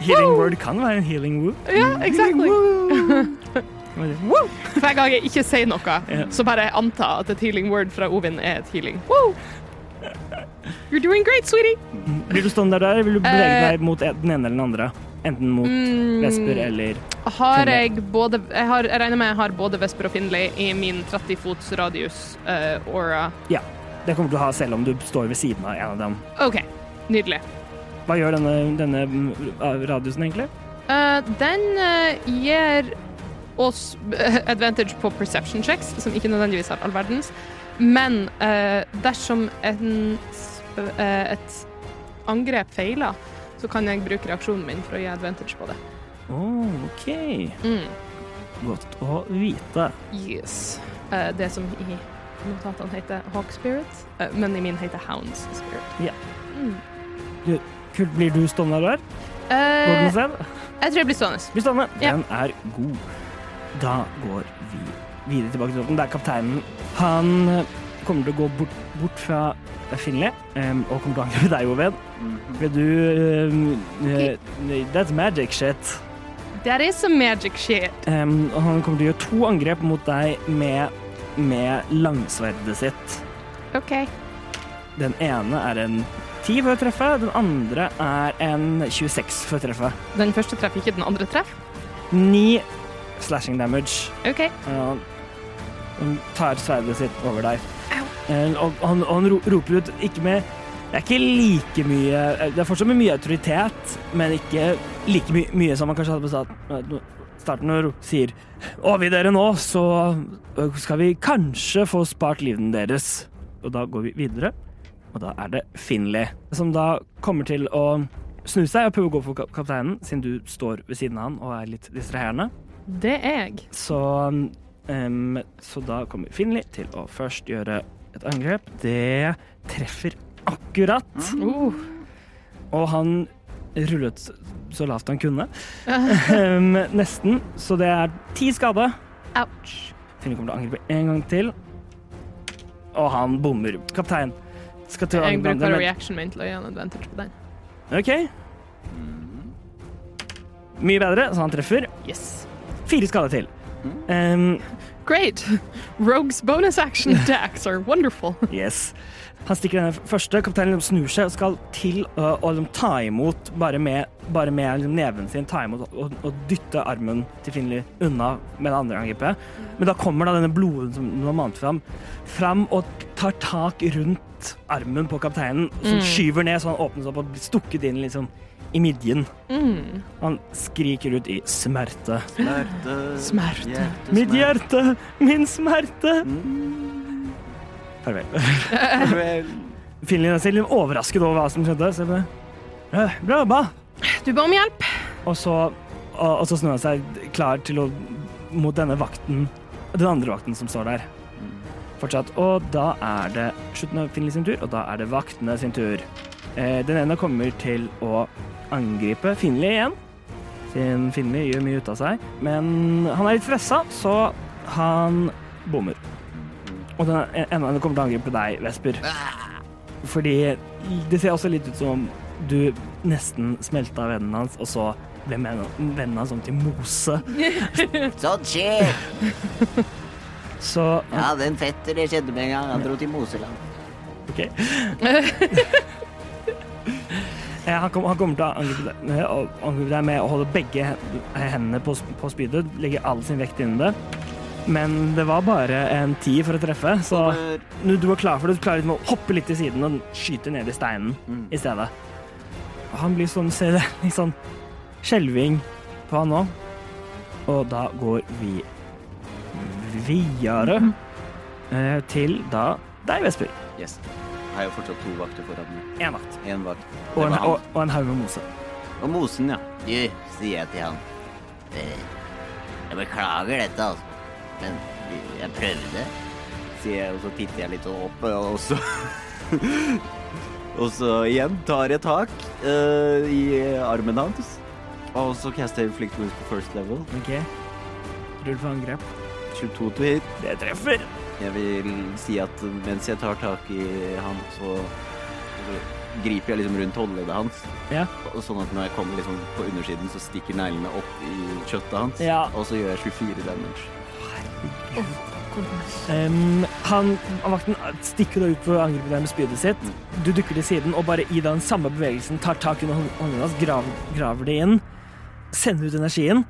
Healing word kan være en healing woo. Ja, exactly. Hva er det? Hver gang jeg ikke sier noe, Ja. så bare jeg antar at et healing word fra Ovin er et healing. Woo! You're doing great, sweetie. Blir du stående der, eller vil du bevege Eh. deg mot en- den ene eller den andre? Enten mot Vesper eller Mm, Har Finlay. jeg både jeg, har, jeg regner med jeg har både Vesper og Finlay i min 30 fots radius eh, aura. Ja. Det kommer du til å ha selv om du står ved siden av en av dem. OK, nydelig. Hva gjør denne, denne mm, radiusen, egentlig? Eh, den eh, gir oss eh, advantage på perception checks, som ikke nødvendigvis har all verdens. Men eh, dersom en, sp- eh, et angrep feiler, så kan jeg bruke reaksjonen min for å gi advantage på det. Åh, Oh, OK. Mm. Godt å vite. Yes. Eh, det som i notatene heter Hawk Spirit, eh, men i min heter Hounds Spirit. Ja. Mm. Kult. Blir du stående der? Går den Eh, et sted? jeg tror jeg blir stående. Blir stående. Ja. Den er god. Da går vi videre tilbake til båten. Det er kapteinen. Han eh, kommer til å gå bort, bort fra Finley em, og kommer til å angripe deg, Oven. Mhm. Vil du em, eh, That's magic shit. That is some magic shit. Em, og han kommer til å gjøre to angrep mot deg med, med langsverdet sitt. OK. Den ene er en 10 for å treffe, den andre er en 26 for å treffe. Den første treffer ikke den andre treff. 9 slashing damage. OK. Ja, Han tar sverdet sitt over deg. Eh, Og han, og han ro- roper ut ikke med Det er ikke like mye eh, Det er fortsatt med mye autoritet, men ikke like my, mye som man kanskje hadde på starten. Starten når hun sier Overgi dere nå, så eh, skal vi kanskje få spart livene deres. Og da går vi videre, og da er det Finley som da kommer til å snu seg og prøve å gå for kap- kapteinen, siden du står ved siden av han og er litt distraherende. Det er jeg. Så, um, så da kommer Finley til å først gjøre et angrep. Det treffer akkurat, Uh, og han rullet så lavt han kunne. Um, nesten, så det er ti skade. ouch. Finley kommer til å angripe en gang til, og han bommer. Kaptein skal til å Jeg angripe andre, bruker men- reaction min til å gi en advantage på den. OK. Mye bedre, så han treffer. Yes. Fire skade til. Um, Great. Rogues bonus action attacks are wonderful. Yes. Han stikker den første. Kapteinen liksom snur seg og skal til å, å liksom ta imot, bare med, bare med liksom neven sin, ta imot og, og dytte armen til Finley unna med det andre angrepet. Men da kommer da denne blodhunden som hun har mant fram, fram og tar tak rundt armen på kapteinen, som skyver ned så han åpnes opp og blir stukket inn liksom i midjen. Han skriker ut i smerte. Smerte. Smerte. Hjerte, Mitt smerte. hjerte, min smerte. Farvel. Farvel. Finley er selv litt overrasket over hva som skjedde. Så jeg bare, «Eh, bra jobba! Du ba om hjelp. Og så, og, og så snur han seg klar til å mot denne vakten, den andre vakten som står der. Fortsatt. Og da er det slutten av Finley sin tur, og da er det vaktene sin tur. Eh, den ene kommer til å angripe Finley igjen. Siden Finley gjør mye ut av seg. Men han er litt stressa, så han bommer. Og den ene ene kommer til å angripe deg, Vesper. Fordi det ser også litt ut som om du nesten smelta vennen hans, og så Hvem er nå- vennen hans om til mose? Sånt Sånn skjer! Så Jeg hadde en fetter jeg kjente med en gang. Han dro til Moseland. OK. Eh, Han, kom, han kommer til å angripe deg, med å- angripe deg med å holde begge hen- hendene på, sp- på spydet, legge all sin vekt innen det. Men det var bare en ti for å treffe, så når du var klar for det, så klarer du liksom å hoppe litt til siden og skyte ned i steinen Mm. i stedet. Og han blir sånn, ser det, litt sånn skjelving på han nå. Og da går vi videre Mhm. eh, til da deg, Vesper. Yes. Jeg har jo fortsatt to vakter foran meg. Én vakt. Én vakt. Og Det en, var og, han. og en haug med mose. Og Mosen, ja. Du, sier jeg til han. eh, Jeg beklager dette, altså. Men jeg prøvde. Sier jeg, og så titter jeg litt opp, og så Og så igjen tar jeg tak eh, i armen hans. Og så caster jeg Inflict Wounds på first level. OK. Rull for angrep. 22 to hit. Det treffer. Jeg vil si at mens jeg tar tak i han, så griper jeg liksom rundt håndleddet hans. Ja. Og Sånn at når jeg kommer liksom på undersiden, så stikker neglene opp i kjøttet hans. Ja. Og så gjør jeg 24 damage. Ehm, han, vakten eh, stikker da ut for å angripe deg med spydet sitt. Du dukker til siden og bare i den samme bevegelsen tar tak under hånd- hånden hans, grav, graver det inn, sender ut energien.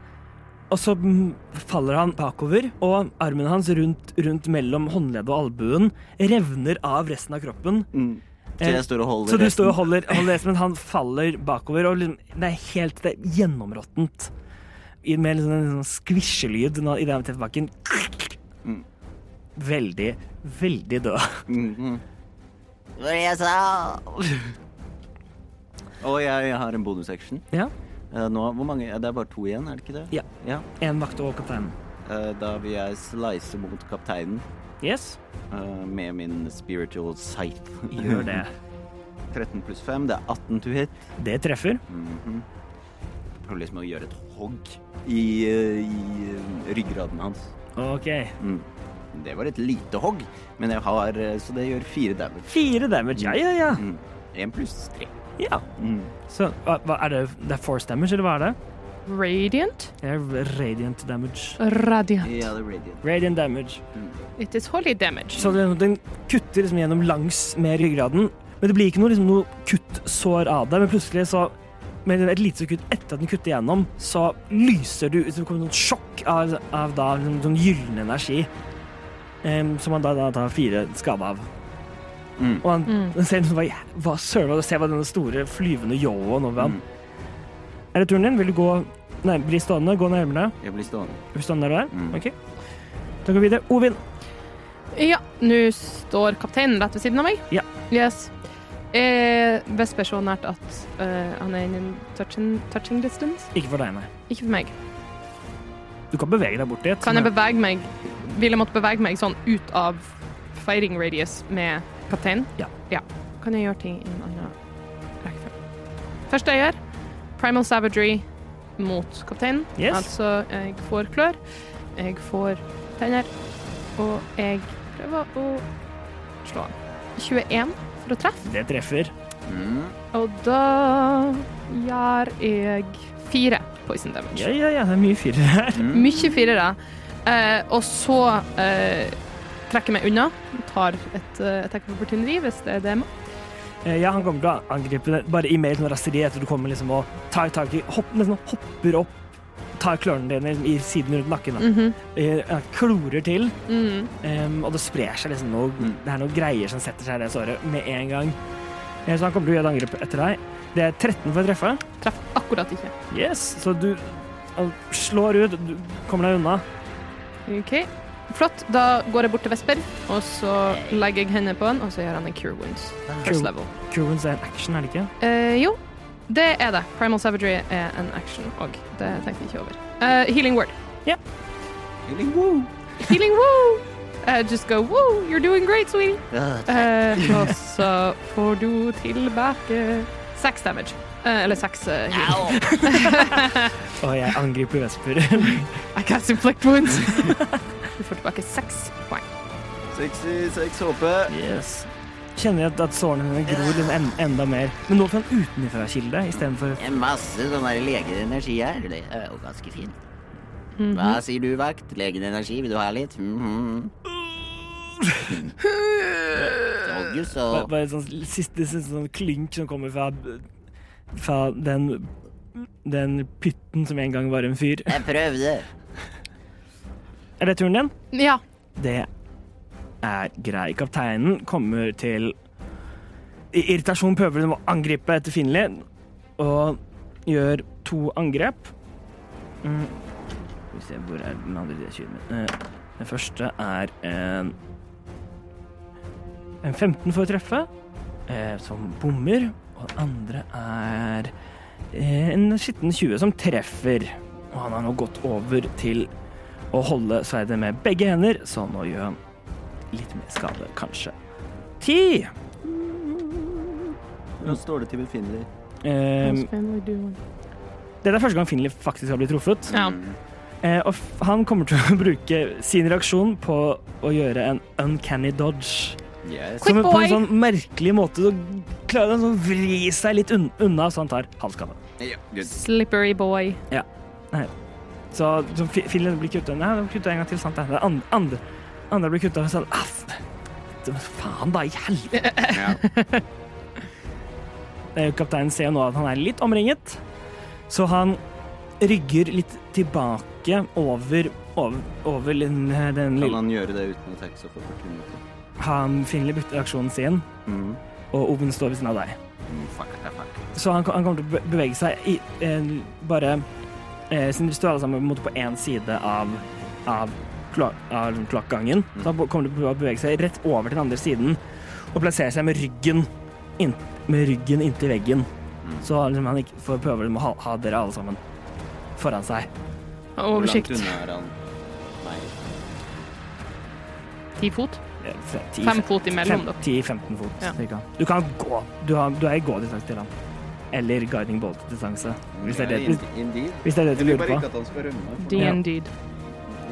Og så mm, faller han bakover, og armen hans rundt, rundt mellom håndleddet og albuen revner av resten av kroppen. Mm. Så jeg står og Eh, holder Så du står og resten. holder, holder resten, men han faller bakover, og liksom, det er helt det er gjennområttent. I- Med liksom en sånn skvisjelyd når- i den teffebakken. Veldig, veldig død. Mm, Hva var det jeg sa? Og jeg, jeg har en bonusaction. Ja. Eh, Nå, hvor mange? Det er bare to igjen, er det ikke det? Ja. En vakt og kapteinen. Eh, Da vil jeg slice mot kapteinen Yes, eh, med min spiritual sight. gjør det. 13 pluss 5, det er 18 to hit. Det treffer. Prøver liksom å gjøre et hogg i, eh, i eh, ryggraden hans. OK. Det var et lite hogg, men jeg har eh, Så det gjør fire damage. Fire damage. Ja, ja, ja. Mm. En pluss tre. ja. Så hva, hva er det, det er force damage, eller hva er det? Radiant? Det er radiant damage. Radiant. Ja, det er radiant. Mm. Radiant damage. It is holy damage. Så den, den kutter liksom gjennom langs med ryggraden, men det blir ikke noe, liksom, noe kuttsår av det. Men plutselig, så, med et lite sekund etter at den kutter gjennom, så lyser du Så det kommer et sånt sjokk av, av da, liksom, sånn gyllen energi. em, som han da, da tar fire skade av. Mm. Og han, han ser liksom, hva, hva søren var det? Se hva denne store flyvende ljåen over ham. Mm. Er det turen din? Vil du gå nei, bli stående? Gå nærmere? Jeg blir stående. Er du stående der du er? Mm. OK. Da går vi videre. Ovin. Ja, nå står kapteinen rett ved siden av meg. Ja. Yes. Eh, Vesper så nært at eh, han er innen touching, touching distance. Ikke for deg, nei. Ikke for meg. Du kan bevege deg bort dit. Kan men- jeg bevege meg Vil jeg måtte bevege meg sånn ut av fighting radius med kapteinen? Ja. Kan jeg gjøre ting i en annen rekkefølge? Første jeg gjør, primal savagery mot kapteinen. Yes. Altså, jeg får klør, jeg får tenner, og jeg prøver å slå han. 21 for å treffe, Det treffer. Mm. og da gjør jeg fire poison damage. Ja, ja, ja, det er mye fyrere her. Mye firere. Eh, og så eh, trekker jeg meg unna. Tar et eh, attack of opportunity, hvis det er det jeg må. Eh, Ja, han kommer til å angripe det bare i mer sånn raseri etter du kommer liksom og tar tak i hopp, Nesten hopper opp, tar klørne dine liksom, i siden rundt nakken. Mm. da. Eh, ja, Klorer til, em, og det sprer seg liksom noe Mm. Det er noe greier som setter seg i det såret med en gang. Eh, Så han kommer til å gjøre et angrep etter deg. Det er 13 for å treffe. Treffer akkurat ikke. Yes, så du han slår ut, du kommer deg unna. OK. Flott. Da går jeg bort til Vesper, og så legger jeg hendene på han, og så gjør han en cure wounds. First Cure- level. Curwins er en action, er det ikke? Eh, jo, det er det. Primal savagery er en action òg. Det tenkte jeg ikke over. Eh, healing word. Healing woo. Healing woo! Eh, just go woo! You're doing great, sweetie! Øh, Eh, og så får du tilbake seks damage. Eh, eller seks eh, heal. Au! Og jeg angriper Vesper. I cast inflict wounds. du får tilbake seks poeng. 66 HP. yes. kjenner jeg at, at sårene mine gror liksom en, enda mer. Men nå får jeg en utenfra-kilde istedenfor Det er masse sånn der legerenergi her. Det er jo ganske fint. Mhm. Hva sier du, vakt? Legerenergi, vil du ha litt? Mhm. Doggy, Bare, så bare sånn siste, siste sånn klynk som kommer fra, fra den, den pytten som en gang var en fyr. Jeg prøvde. Er det turen din? Ja. Det er grei. Kapteinen kommer til I irritasjon prøver hun å angripe etter Finley og gjør to angrep. Mm. Skal vi se, hvor er den andre D20-en min? Eh, Den første er en En 15 for å treffe, eh, som bommer. Og den andre er eh, en skitten 20 som treffer. Og han har nå gått over til og holde sverdet med begge hender, så nå gjør han litt mer skade, kanskje. Ti! Nå står det til Finley. Ehm, dette er første gang Finley faktisk har blitt truffet. ja. Eh, og f- han kommer til å bruke sin reaksjon på å gjøre en uncanny dodge. Yes. Quick Som på boy! en sånn merkelig måte så klarer han sånn å vri seg litt un unna, så han tar halv skade. Ja, good. Slippery boy. Så, så Fi- Finley blir kutta Nei, han blir kutta en gang til, sant? det? Det andre, andre, andre blir kutta sånn Aff! Faen, da, i helvete! Ja. Eh, Kapteinen ser jo nå at han er litt omringet, så han rygger litt tilbake over, over, over den, eh, den Kan lille han gjøre det uten attacks of opportunity? Han finner bytteaksjonen sin, Mm. og Oven står ved siden av deg. Mm, fuck, fuck, fuck. Så han, han kommer til å be- bevege seg i, eh, bare eh, sin ritual sammen på en måte på én side av, av, kloa- av kloakkgangen. Så han bo- kommer til å prøve å bevege seg rett over til den andre siden og plassere seg med ryggen, inn, med ryggen inntil veggen. Så han liksom, han ikke får prøve å ha, ha dere alle sammen foran seg. Hvor langt Oversikt. unna er han? Nei. Ti fot. Eh, fe- ti- Fem fe- fot imellom, da. 10-15 fot. Ja. cirka. Du kan gå. Du, har, du er i gådistanse til ham. Eller guiding bolt-distanse. Hvis, det er det- Ja, hvis, ind- Indeed. hvis det er det Jeg du vil lurer bare ikke på. at han skal rømme. for Ja. Indeed.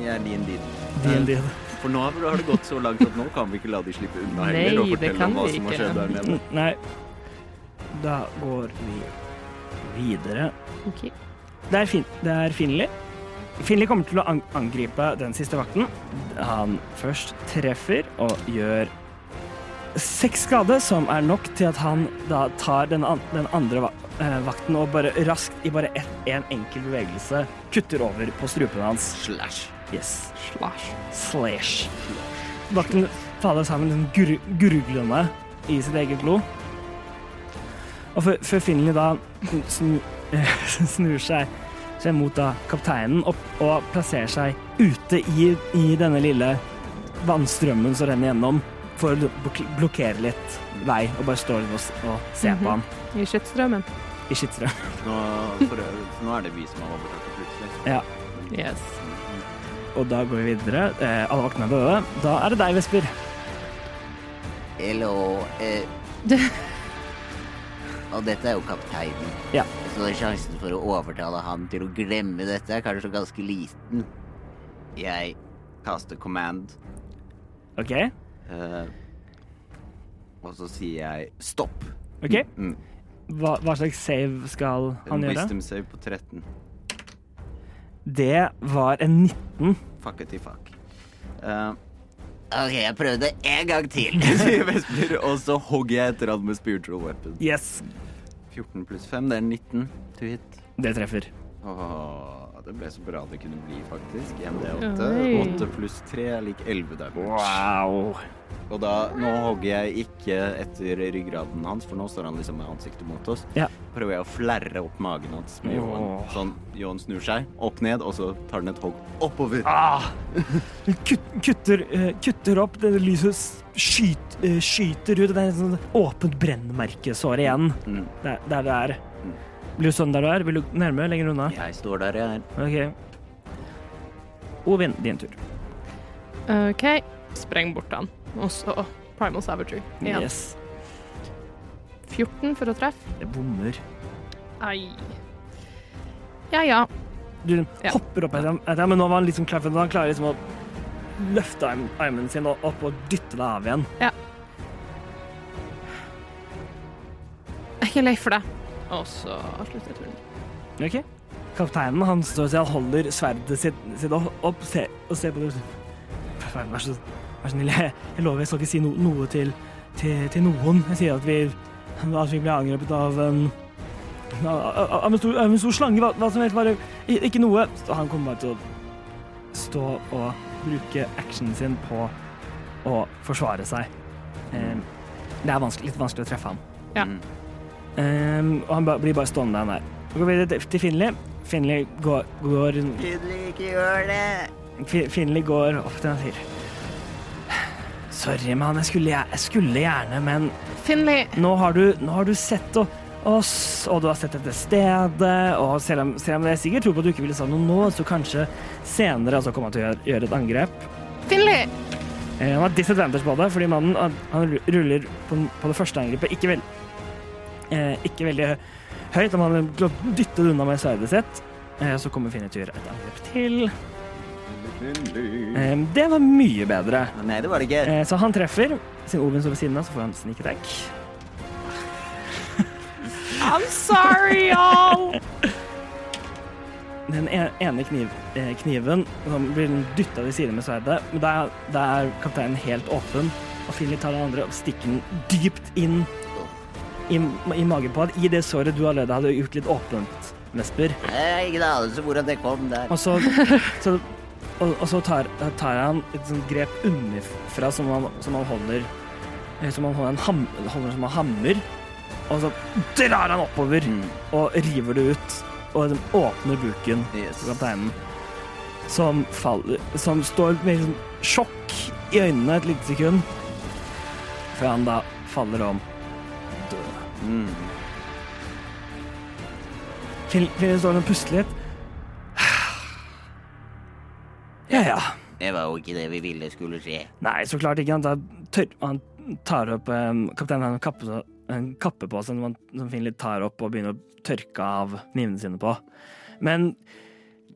Jeg er indeed. D&D. For nå har det gått så langt at nå kan vi ikke la de slippe unna Nei, heller og det fortelle kan om hva vi som har ikke. skjedd der nede. Mm, Nei. Da går vi videre. Ok. Det er, fin det er Finley. Finley kommer til å an angripe den siste vakten. Han først treffer og gjør seks skade, som er nok til at han da tar den, an den andre va eh, vakten og bare raskt, i bare ett, en enkel bevegelse, kutter over på strupen hans. Slash. Yes. Slash. Slash. Vakten faller sammen sånn gur gurglende i sitt eget blod. Og før- før Finley da snu, eh, snur seg, seg mot da kapteinen opp, og plasserer seg ute i, i denne lille vannstrømmen som renner gjennom, for å blok- blokkere litt vei, og bare står og, s- og ser på han I shitstrømmen. i skittstrøm. Nå, for, øvrig- nå er det vi som har overtatt plutselig. Yes. Og da går vi videre. Eh, alle vaktene er døde. Da er det deg, Vesper. Hello. Eh. Og dette er jo kapteinen. Ja. Så sjansen for å overtale han til å glemme dette er kanskje ganske liten. Jeg kaster command, OK? eh, og så sier jeg stopp. OK? Mm. Hva, hva slags save skal han En gjøre? wisdom save på 13. Det var en 19. Fuckety fuck. Eh, OK, jeg prøvde en gang til. sier Vesper, og så hogger jeg etter han med spiritual weapon. Yes, 14 pluss 5, det er 19 to hit. det treffer. Åh, det ble så bra det kunne bli, faktisk. Oi. 1D8. 8 pluss 3 er lik 11 damage. Wow. Og da, nå hogger jeg ikke etter ryggraden hans, for nå står han liksom med ansiktet mot oss. Ja. Prøver jeg å flerre opp magen hans med Johan. Åh. Sånn, Johan snur seg opp ned, og så tar han et hogg oppover. Ah. Kut, kutter, eh, kutter opp, det lyset s- skyt, eh, skyter ut. og Det er et sånt åpent brennmerkesår igjen. Mm. Der, der du er. Blir du sånn der du er? Vil du nærmere? Lenger unna? Jeg står der jeg er. OK. Ovin, din tur. OK. Spreng bort han. Og så Primal Savagery. Igjen. Yes. 14 for å treffe. Det bommer. Ai. Ja, ja. Du Ja. hopper opp etter ham, etter ham, men nå var han liksom klar for det. Han klarer liksom å løfte arm, armen sin opp og dytte deg av igjen. Ja. ikke lei for deg. Og så avslutter jeg turen. Ok. Kapteinen han står og holder sverdet sitt, sitt opp, opp se, og ser på det. Vær vær så, vær så snill, jeg, jeg lover jeg skal ikke si no, noe til, til, til noen. Jeg sier at vi, at vi ble angrepet av en av, av, en, stor, av en stor slange, hva, hva som helst. Bare i- ikke noe. Så han kommer bare til å stå og bruke actionen sin på å forsvare seg. Eh, Det er vanskelig, litt vanskelig å treffe ham. Ja. Mm. Ehm, og han ba, blir bare stående der han er. Så går vi videre til Finley. Finley går, går Fi- Finley går opp til han og sier Sorry, mann. Jeg skulle, gjer- jeg skulle gjerne, men Finley, nå har du, nå har du sett og- oss, og du har sett dette stedet, og selv om, selv om jeg sikkert tror på at du ikke ville sagt noe nå, så kanskje senere altså kommer han til å gjøre, gjøre et angrep. Finley! Eh, Han har disadvantage på det, fordi mannen han, han ruller på, den- på det første angrepet ikke, vel, eh, ikke veldig høyt. men Han vil dytte det unna med sverdet sitt. Eh, så kommer Finitur et angrep til. Mm. Eh, det var mye bedre. Nei, det var det ikke. Eh, så han treffer. Siden Ovin står ved siden av, så får han sneak attack. I'm sorry, y'all! Den e- ene kniv, eh, kniven som blir dytta ved siden med sverdet. Men da er, da er kapteinen helt åpen, og Philip tar den andre og stikker den dypt inn i, i magen på han, i det såret du allerede hadde gjort litt åpent, Vesper. Jeg har ingen anelse hvordan det kom der. Og så, så, og, og så tar, tar han et sånt grep underfra som han, som han holder eh, Som han holder, en ham, holder som en hammer, og så drar han oppover Mm. Mm, og river det ut. Og den åpner buken Yes. på kapteinen, som faller Som står med liksom sjokk i øynene et lite sekund, før han da faller om. Mm. Kvinner står og puster litt. Ja, ja. Det var jo ikke det vi ville skulle skje. Nei, så klart ikke. Han tar, tør, han tar opp um, Kapteinen har en kappe, en kappe på seg som han som Finley tar opp og begynner å tørke av knivene sine på. Men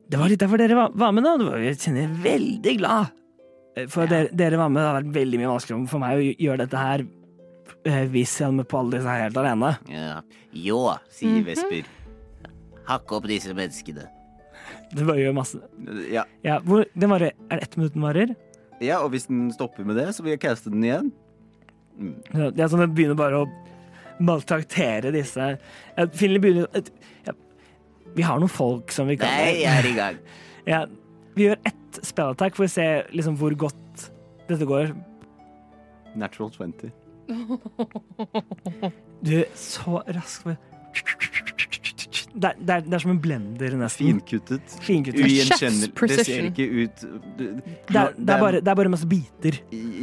det var litt derfor dere var, var med, da. Det var- Jeg kjenner jeg veldig glad eh, for at dere, dere var med. Det har vært veldig mye vanskeligere for meg å gj- gjøre dette her eh, hvis jeg hadde med på alle disse her helt alene. Ja. Ljå, sier Mhm. Vesper. Hakk opp disse menneskene. Det bare gjør masse Ja. Ja, hvor, den varer, Er det ett minutt den varer? ja, og hvis den stopper med det, så vil jeg caste den igjen. Ja, Det er sånn at jeg begynner bare å maltraktere disse Jeg finner begynner et- ja, Vi har noen folk som vi Nei, kaller jeg er i gang. ja, Vi gjør ett spillattak for å se liksom hvor godt dette går. Natural 20. Du er så rask med det er, det, er, det er som en blender, nesten. Finkuttet. Mm. Finkuttet. Ugjenkjennelig. Det ser precision. ikke ut du- Det er, det, er bare, det er bare masse biter.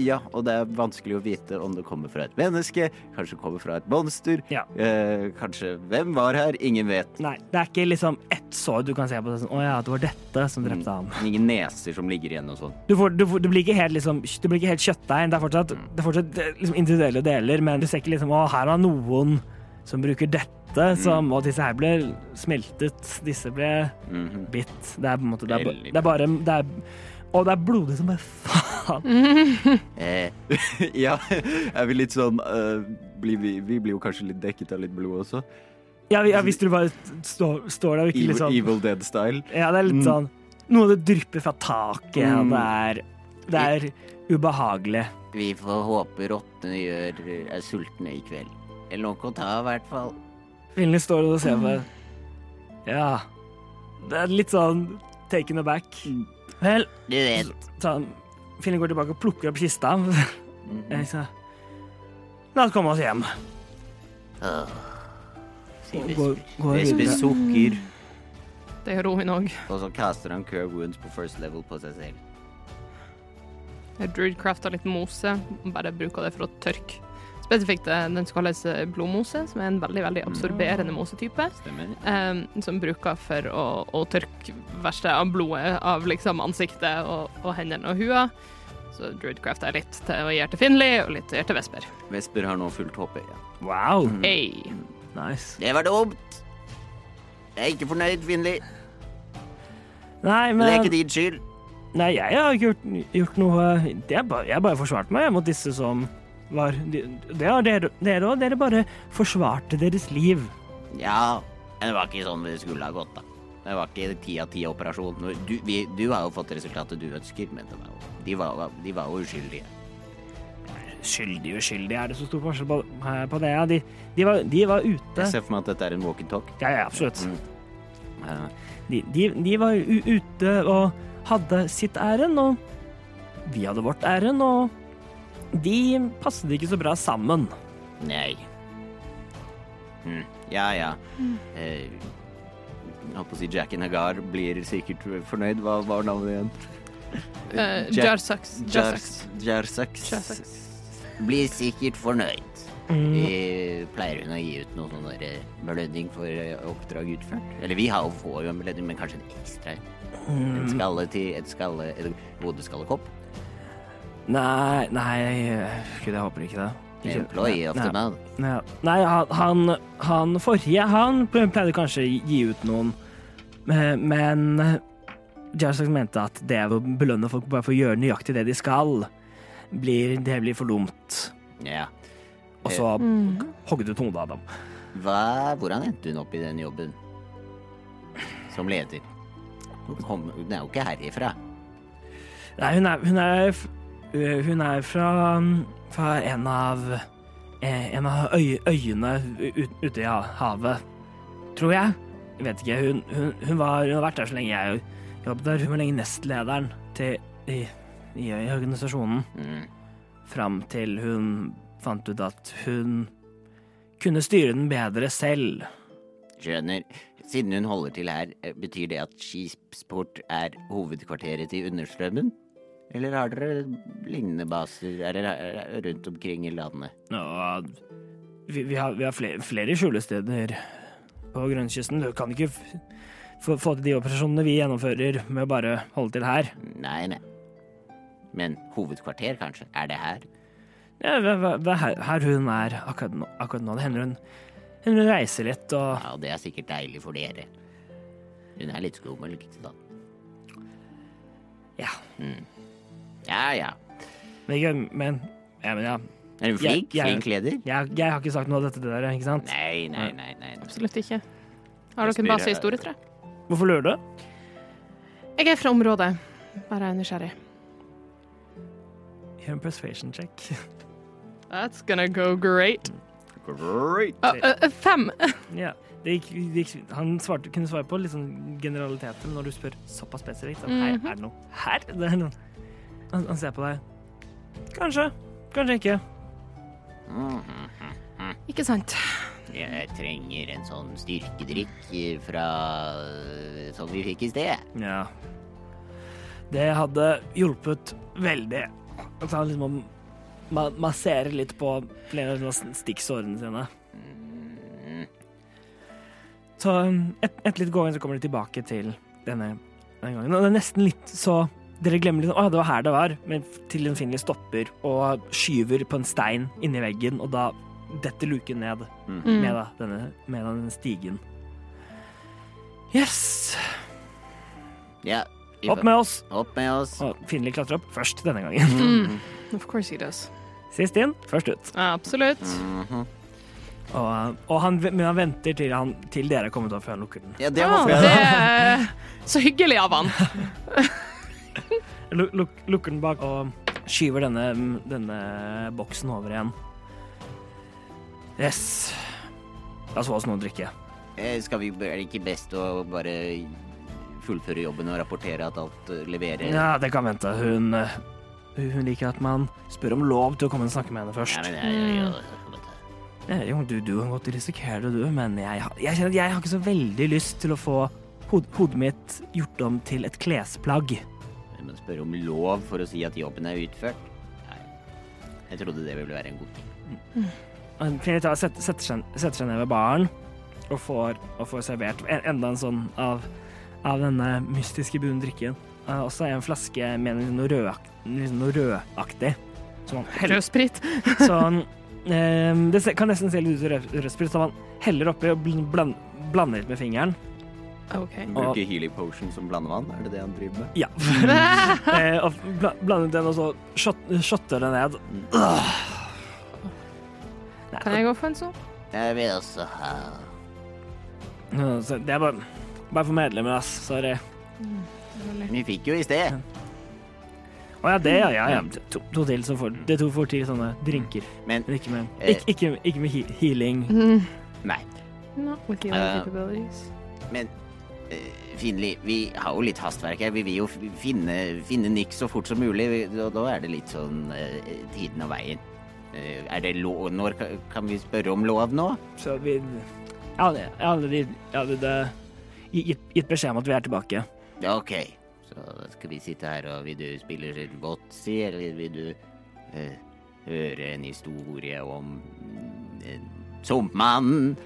Ja, og det er vanskelig å vite om det kommer fra et menneske, kanskje det kommer fra et monster, Ja. eh, kanskje Hvem var her? Ingen vet. Nei, det er ikke liksom ett sår du kan se på. det Sånn, Å ja, det var dette som Mm. drepte han. Ingen neser som ligger igjen og sånn. Du, får, du, får, du blir ikke helt, liksom, du blir ikke helt kjøttdeig. Det er fortsatt, Mm. det er fortsatt eh, liksom, individuelle deler, men du ser ikke liksom Å, her var noen som bruker dette Mm. som Og disse her ble smeltet. Disse ble Mhm. bitt. Det er på en måte Det er, ba- Mm. Veldig det er bare det er, Og det er blodig som bare Mm. faen. Eh, ja, er vi litt sånn eh, blir vi, vi blir jo kanskje litt dekket av litt blod også. Ja, ja, hvis du bare står, står der og ikke Evil, liksom Evil Dead-style. Ja, det er litt sånn Noe av det drypper fra taket, og Mm. det er Det er ubehagelig. vi får håpe rottene gjør, er sultne i kveld. Eller noe å ta, i hvert fall. Finley står og ser på. Ja. Det er litt sånn taken aback. Vel, Du vet. ta, Finley går tilbake og plukker opp kista. Jeg sa, La oss komme oss hjem. Åh, sier Og går, Vesper. går Vesper videre. sukker, Det gjør hun òg. Og så kaster han Cure Wounds på first level på seg selv. Druidcrafta litt mose, bare bruker det for å tørke. Spesifikt eh, den som kalles eh, blodmose, som er en veldig veldig absorberende mosetype. stemmer. Um, som bruker for å, å tørke verste av blodet av liksom ansiktet og, og hendene og hua. Så druidcraft er litt til å gjøre til Finley og litt til å gjøre til Vesper. Vesper har nå fullt håpet igjen. Wow. Mm. Hey. Nice. Det var dumt! Jeg er ikke fornøyd, Finley. Nei, Men det er ikke men din skyld. Nei, jeg har ikke gjort, gjort noe Jeg har bare, jeg bare forsvarte meg mot disse som var Det har dere òg. Dere bare forsvarte deres liv. Ja, men det var ikke sånn vi skulle ha gått, da. Det var ikke ti av ti operasjon. Du, vi, du har jo fått resultatet du ønsker, men det var jo, de, var, de var jo uskyldige. Skyldig, uskyldig, er det så stor forskjell på, eh, på det? Ja, de, de, var, de var ute. Jeg ser for meg at dette er en walk-and-talk. Ja, ja, absolutt. Eh, De, de, de var u ute og hadde sitt ærend, og vi hadde vårt ærend, og de passet ikke så bra sammen. Nei. Hm. Ja, ja. Eh, Jeg holdt på å si Jack and Hagar blir sikkert fornøyd. Hva var navnet igjen? Eh, Jack- Jarsax. Jarsax. Jarsax. Jarsax. blir sikkert fornøyd. Mm. Eh, pleier hun å gi ut noen sånn der, eh, belønning for eh, oppdrag utført? Eller vi har jo får jo en belønning, men kanskje en ekstra? En skalle til et skalle... En hodeskallekopp? Nei, nei, gud, jeg håper ikke det. Ikke- Employee of nei, the man. nei, nei, han- han, han forrige, han pleide kanskje å gi ut noen, eh, men Jarsax mente at det å belønne folk bare for å gjøre nøyaktig det de skal, blir, det blir for dumt. Ja. Og så hogde du hodet av dem. Hva, hvordan endte hun opp i den jobben? Som leder? Hun kom- hun er jo ikke herifra. Nei, hun er, hun er, f- øh, hun er fra, mm, fra en av, eh, en av øy, øyene ut, ute i ha- havet, tror jeg. Jeg vet ikke. Hun, hun, hun, var, hun har vært der så lenge jeg jobbet der. Hun var lenge nestlederen til, i, i, i organisasjonen Mm. fram til hun fant ut at hun kunne styre den bedre selv. Skjønner. Siden hun holder til her, eh, betyr det at Skipsport er hovedkvarteret til Understrømmen? Eller har dere lignende baser er dere eh, rundt omkring i landet? Og vi, vi har, vi har flere, flere skjulesteder på grønnkysten. Du kan ikke f- få, få til de operasjonene vi gjennomfører med å bare holde til her. Nei, nei. Men hovedkvarter, kanskje? Er det her? Ja, det, det det er her, her hun er akkurat nå. Akkurat nå. Det hender hun, hender hun reiser litt og Ja, det er sikkert deilig for dere. Hun er litt skummel, ikke sant? Ja. Mm. Ja, ja. Men, ikke- men, ja, men ja. Er hun Jeg- flink? jeg- Flink leder? Jeg, jeg har ikke sagt noe av dette til dere, ikke sant? Nei, nei, nei. nei. Absolutt ikke. Har dere en base i Storetre? Hvorfor lurer du? Jeg er fra området. Bare er nysgjerrig. Gjør en persuasion check. That's gonna go great. Great. Uh, uh, uh, fem. ja. det gikk, det gikk, han svarte, kunne svare på litt sånn generaliteter men når du spør såpass spesifikt. Sånn, Hei, er det noe her? Det er noe. Han, han ser på deg. Kanskje. Kanskje ikke. Ikke sant. Jeg trenger en sånn styrkedrikk eh, fra eh, Som vi fikk i sted. Ja. Det hadde hjulpet veldig. At han liksom ma masserer litt på flere av sånne stikksårene sine. Så um, et, etter litt gåing så kommer de tilbake til denne, denne gangen. Og det er nesten litt så dere glemmer litt, å det var her det var, men til den finlig stopper og skyver på en stein inni veggen, og da detter luken ned med, da, denne, med da denne stigen. Yes! Ja. vi Opp får- med oss! Opp med oss. Og Finley klatrer opp først denne gangen. Mm. Of course he does. Sist inn, først ut. Absolutt. Og, eh, og han, men han venter til, han, til dere er kommet opp før han lukker den. Ja, det Ah, håper jeg. det er så hyggelig av han. Lu- luk- lukker den bak og skyver denne, denne boksen over igjen. Yes. La oss få oss noe å drikke. Eh, Skal vi, er det ikke best å bare fullføre jobben og rapportere at alt eh, leverer? Ja, det kan vente. Hun, eh, hun liker at man spør om lov til å komme og snakke med henne Ja, først. men, ja, ja, ja. Eh, Jo, du, du kan godt risikere det, du, men jeg, har- jeg kjenner at jeg har ikke så veldig lyst til å få hod, hodet mitt gjort om til et klesplagg. Men spørre om lov for å si at jobben er utført? Nei. Jeg trodde det ville være en god ting. Han finner ut av- setter, setter, seg, setter seg ned ved baren og får, og får servert en, enda en sånn av, av denne mystiske brune drikken. Uh, også en flaske med noe, rødak, liksom noe rødaktig. Som han heller, Rød sprit. så han eh, Det se- kan nesten se litt ut som rød- rødsprit, så han heller oppi og bl- bland, blander litt med fingeren. OK. Bruker healing potion som blandevann, er det det han driver med? Ja. Mm. Eh, og bla, blander den, og så shot, shotter det ned. Kan jeg òg få en sånn? Jeg vil også ha Ja, så Det er bare, bare for medlemmer, ass. Sorry. Vi fikk jo i sted. Å ja, det, ja. ja, ja. Mm, To, to til, så får det to får til sånne drinker. Men Men ikke med, Eh. Mm. ikke, ikke, ikke med he- healing. nei. Not with your Eh, capabilities. Men eh, Finli, vi har jo litt hastverk her. Vi vil jo f- finne, finne Nick så fort som mulig. Vi- Og da er det litt sånn eh, tiden og veien. Eh, er det lov Når ka- kan vi spørre om lov nå? Så vi Jeg hadde, jeg hadde, jeg hadde det- gitt, gitt beskjed om at vi er tilbake. Ja, OK. Så da skal vi sitte her, og vil du spille Botzy, eller vil du eh, høre en historie om eh, Sumpmannen?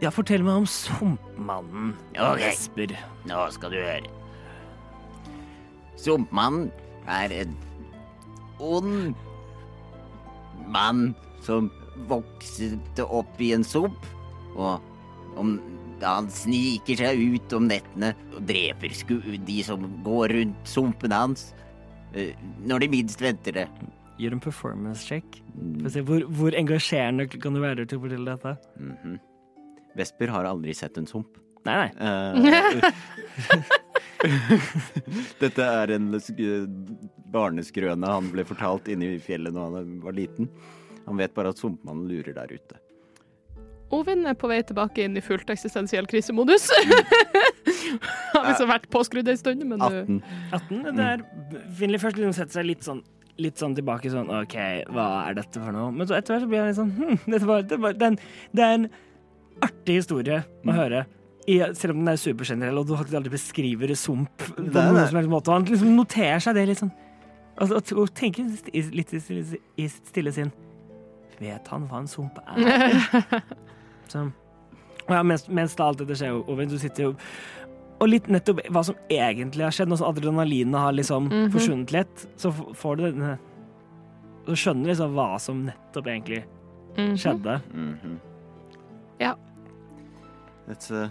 Ja, fortell meg om Sumpmannen, Ok. Jesper. Nå skal du høre. Sumpmannen er en ond mann som vokste opp i en sump, og om da han sniker seg ut om nettene og dreper sku de som går rundt sumpen hans eh, når de minst venter det. Gjør en performance check. Få se hvor, hvor engasjerende kan du være til å fortelle dette? Mhm. Vesper har aldri sett en sump. Nei, nei. Eh, Dette er en sk- barneskrøne han ble fortalt inne i fjellet da han var liten. Han vet bare at sumpmannen lurer der ute. Ovin er på vei tilbake inn i fullt eksistensiell krisemodus. Har liksom vært påskrudd en stund, men du 18. 18. Det er Finley først liksom setter seg litt sånn Litt sånn tilbake sånn OK, hva er dette for noe? Men så etter hvert så blir han litt sånn hm, dette var, det, var, det, er en, det er en artig historie Mm. å høre. I, selv om den er supergenerell, og du faktisk aldri beskriver sump på Nei, noen nei. som helst måte. Han liksom noterer seg det litt sånn. Og, og, og tenker i- litt i, stille- i sitt stille sinn Vet han hva en sump er? så, og ja, mens, mens da alt dette skjer, Oven, du sitter jo og litt nettopp hva som egentlig har skjedd, nå som adrenalinet har liksom forsvunnet litt, så f- får du denne Du skjønner liksom hva som nettopp egentlig Mm. skjedde. Mhm. That's a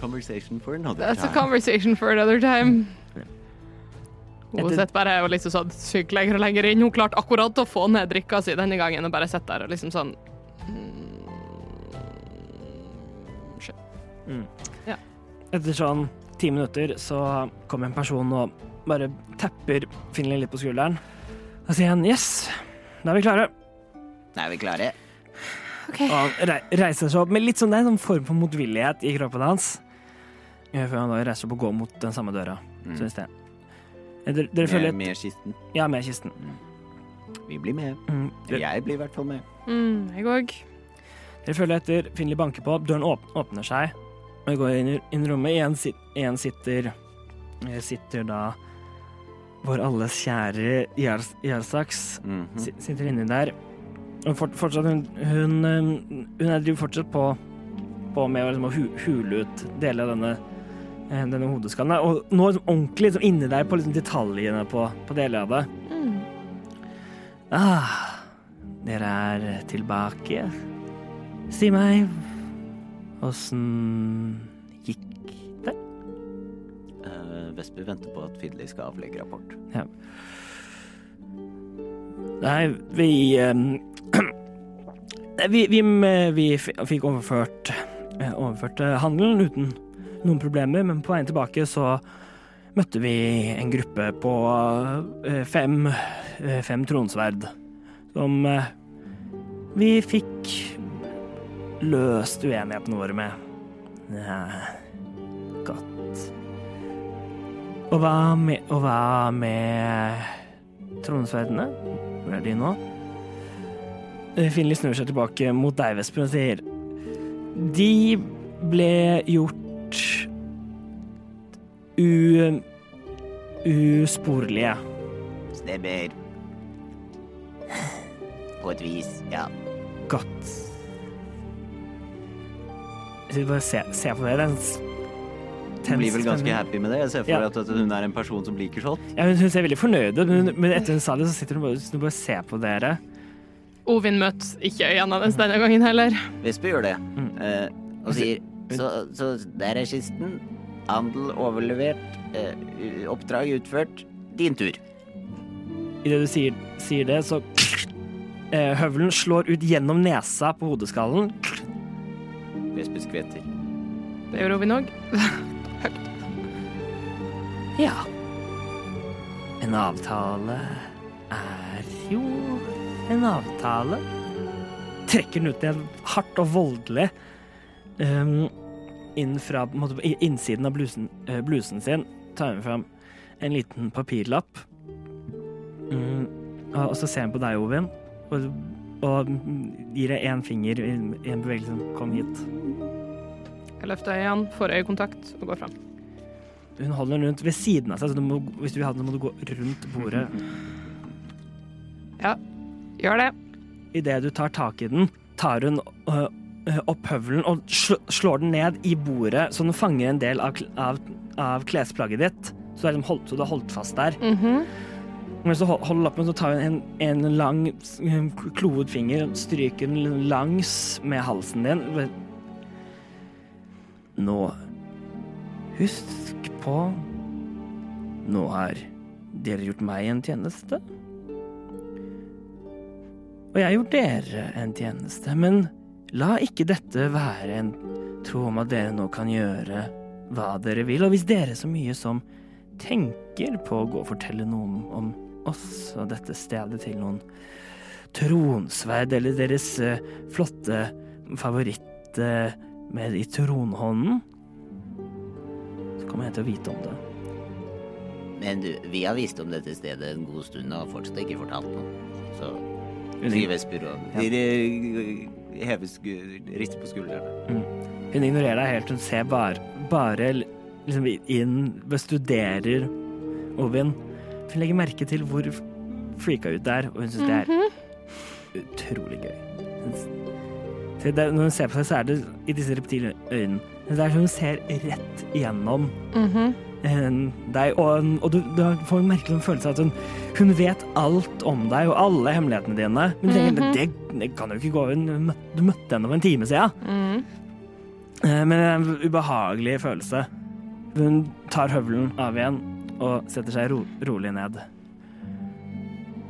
conversation for another That's a time. conversation for another time. Hun Etter- sitter bare og liksom sånn syk lenger og lenger inn. Hun klarte akkurat å få ned drikka si denne gangen og bare sitter der og liksom sånn Etter sånn ti minutter så kommer en person og bare tepper Finley litt på skulderen. Da sier han 'yes, da er vi klare'. Er vi klare? Og han rei- reiser seg opp med litt sånn, det er en sånn form for motvillighet i kroppen hans. Eh, Før han da reiser seg opp og går mot den samme døra. Så i sted. Eh, Dere, dere følger Med, med kisten. Ja, med kisten. Vi blir med. Mm, dere, Eller jeg blir i hvert fall med. mm, Jeg òg. dere følger etter. Finley banker på. Døren åp åpner seg. Og vi går inn i inn i rommet. Igjen, sit, igjen sitter eh, Sitter da vår alles kjære Jarls- Jarlsaks. Mm. Mhm. Si- Sitter inni der. Hun, fort, fortsatt, hun, hun, eh, hun er driver fortsatt på, på med å liksom, å hu- hule ut deler av denne, eh, denne hodeskallen. der. Og nå liksom, ordentlig liksom, inni der på liksom, detaljene på, på deler av det. Mm. Ah, dere er tilbake. Si meg, åssen gikk det? Eh, Vesper venter på at Fidley skal avlegge rapport. Nei, vi ehm, vi, vi, eh, vi f- fikk overført eh, overført eh, handelen uten noen problemer, men på veien tilbake så møtte vi en gruppe på eh, fem, eh, fem tronsverd som eh, vi fikk løst uenighetene våre med. Ja, godt. Og hva med, og hva med tronsverdene? Hvor er de nå? Eh, Finley snur seg tilbake mot deg, Vesper, og sier De ble gjort u... usporlige. Stemmer. På et vis, ja. Godt. Så bare se, se på det. Det er en s- Hun blir tens vel ganske spenning. happy med det. Jeg ser for Ja. meg at, at hun er en person som liker sånt. Ja, hun, hun ser veldig fornøyd ut, men, men etter hun sa det, så sitter hun bare, hun bare og ser på dere. Ovin møter ikke øynene hennes denne gangen heller. Vesper gjør det. Mm. Eh, og sier så, så der er kisten. Handel overlevert. eh, u- oppdrag utført. Din tur. Idet du sier, sier det, så Eh, Høvelen slår ut gjennom nesa på hodeskallen. Vespe skvetter. Det gjør Ovin òg. Ja. En avtale er jo en avtale. Trekker den ut igjen hardt og voldelig ehm, inn fra på en måte, i- innsiden av blusen, eh, blusen sin. Tar hun fram en liten papirlapp. Mm, og, og så ser hun på deg, Ovin, og, og gir deg én finger i en i en bevegelse som kom hit. Jeg løfter øynene, får øyekontakt og går fram. Hun holder den rundt ved siden av seg, så du må, hvis du vil ha den, så må du gå rundt bordet. Gjør det. Idet du tar tak i den, tar hun øh, øh, opp høvelen og sl slår den ned i bordet, så den fanger en del av, kl- av, av klesplagget ditt. Så du, er liksom holdt, så du har holdt fast der. Mhm. Men så hol- holder du opp, men så tar hun en, en lang, s- øh, k- kloet finger, stryker den langs med halsen din. Bare- Nå Husk på Nå har dere gjort meg en tjeneste. Og jeg har gjort dere en tjeneste, men la ikke dette være en tro om at dere nå kan gjøre hva dere vil. Og hvis dere så mye som tenker på å gå og fortelle noen om oss og dette stedet til noen tronsverd eller deres eh, flotte favoritt eh, med i tronhånden, så kommer jeg til å vite om det. Men du, vi har visst om dette stedet en god stund og har fortsatt ikke fortalt noe. Så sier Vesper og Ja. Dere hever sku- rister på skuldrene. Hun ignorerer deg helt. Hun ser bare, bare liksom inn, bare studerer Ovin. Hun legger merke til hvor freaka ut det er, og hun syns det er utrolig gøy. Hun s- Så det, når hun ser på seg, så er det i disse reptile øynene. Det er som hun ser rett igjennom Mhm. eh, deg, og, og du, du får en merkelig følelse av at hun, hun vet alt om deg og alle hemmelighetene dine. Men du tenker, det, det kan jo ikke gå hun møtte- Du møtte henne for en time siden. Eh, Men det er en ubehagelig følelse. Hun tar høvelen av igjen og setter seg ro rolig ned.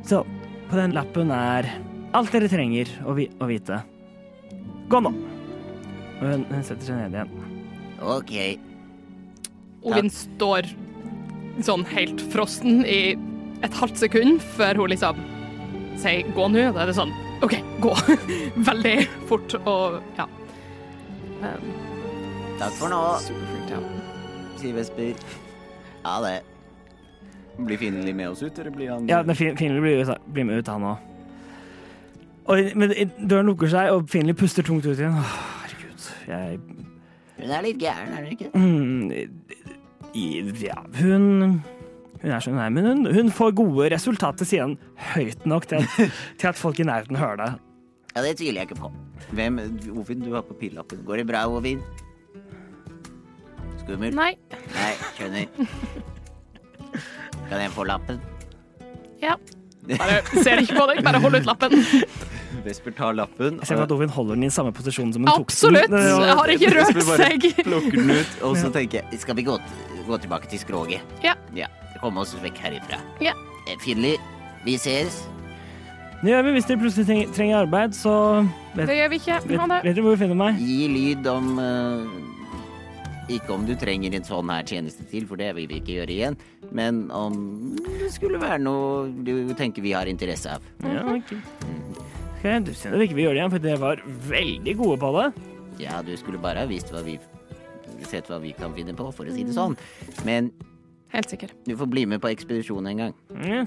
Så på den lappen er alt dere trenger å, vi å vite. Gå nå! Og hun, hun setter seg ned igjen. Ok. Ovin står sånn helt frossen i et halvt sekund før hun liksom sier 'gå nå'. Da er det sånn OK, gå. Veldig fort og ja. Um, Takk for nå, super freaked out. sier Vesper. Ha det. Blir Finli med oss ut, eller blir han Ja, men Fin- Finley blir, ut- blir med ut, han òg. Og men døren lukker seg, og Finley puster tungt ut igjen. Åh, herregud, jeg Hun er litt gæren, er hun ikke? Mm, i, ja, hun Hun er sånn her, men hun, hun får gode resultater, sier han høyt nok til at, til at folk i nærheten hører det. Ja, det tviler jeg ikke på. Hvem Ovin, du har papirlappen. Går det bra, Ovin? Skummel? Nei. Nei, skjønner. Kan jeg få lappen? Ja. Bare ser ikke på deg, bare hold ut lappen. Vesper tar lappen. Jeg ser for at Ovin holder den i samme posisjon som hun Absolutt! tok øh, den. Jeg har ikke rørt Vesper bare seg. plukker den ut, og så tenker jeg, skal vi gå, t- gå tilbake til skroget? Ja. Ja, komme oss vekk herifra. Ja. Eh, Finley, vi ses. Det gjør vi hvis dere plutselig trenger, trenger arbeid, så vet, Det gjør vi ikke. vet, Ha det. vet dere hvor du finner meg. Gi lyd om eh, Ikke om du trenger en sånn her tjeneste til, for det vil vi ikke gjøre igjen, men om det skulle være noe du tenker vi har interesse av. Mhm. Ja, ok. Ok, du ser at vi ikke vil gjøre det igjen, for dere var veldig gode på det. Ja, du skulle bare ha visst hva vi Sett hva vi kan finne på, for å si det sånn. Men Helt sikker. du får bli med på ekspedisjonen en gang. Ja.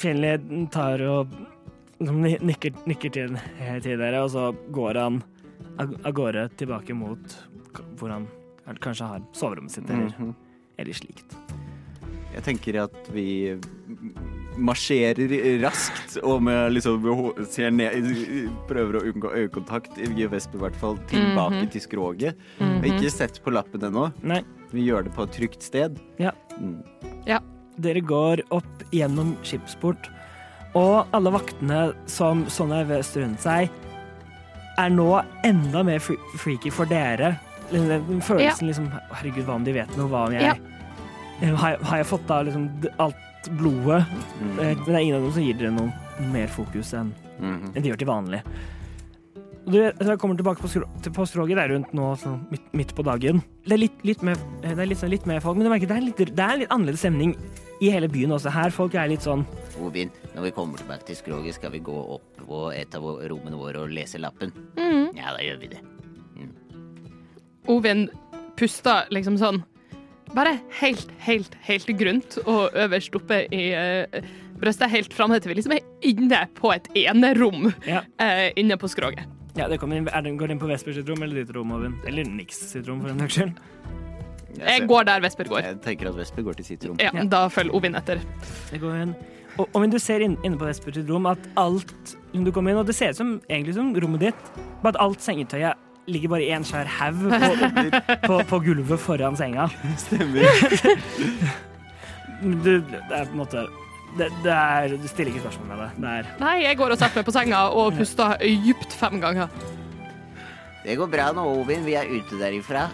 Finley tar og liksom ni- nikker, nikker til, eh, til dere, og så går han av av gårde tilbake mot k- hvor han er- kanskje har soverommet sitt, Mm. eller, Mhm. eller slikt. Jeg tenker at vi marsjerer raskt og med liksom ser ned Prøver å unngå øyekontakt, i Vesper i hvert fall, tilbake til skroget. Mhm. Ikke sett på lappen ennå. Nei, Vi gjør det på et trygt sted. ja. Mm. Dere går opp gjennom skipsport, og alle vaktene som sånne vest rundt seg, er nå enda mer fre freaky for dere. Den den følelsen liksom Herregud, hva om de vet noe? Hva om jeg Ja. Eh, Har jeg, har jeg fått da liksom d- alt litt blodet. Mm. Eh, Men det er ingen av dem som gir dere noe mer fokus enn Mhm. enn de gjør til vanlig. Og dere dere kommer tilbake på, skro til på skroget der rundt nå, sånn midt, midt på dagen. Det er litt, litt, mer, eh, det er litt, sånn, litt mer folk, men du merker det er, litt, det er litt annerledes stemning i hele byen også. Her folk er litt sånn Ovin, når vi kommer tilbake til skroget, skal vi gå opp på et av rommene våre og lese lappen. Ja, da gjør vi det. Ovin puster liksom sånn Bare helt, helt, helt grunt og øverst oppe i eh, brystet, helt framme til vi liksom er inne på et enerom Ja, eh, inne på skroget. ja det kommer inn, er det, går det inn på Vesper sitt rom eller ditt rom, Ovin? Eller Nix sitt rom, for den saks skyld. Jeg går der Vesper går. Jeg tenker at Vesper går til sitt rom. Ja, Da følger Ovin etter. Det går inn. Og, og men du ser inn, inne på Vesper sitt rom at alt Du kommer inn, og det ser ut som egentlig som rommet ditt, bare at alt sengetøyet ligger bare i en svær haug på, på, på gulvet foran senga. Stemmer. Men Du, det er på en måte det, det er, Du stiller ikke spørsmål med det. Det er Nei, jeg går og setter meg på senga og puster dypt fem ganger. Det går bra nå, Ovin. Vi er ute derifra.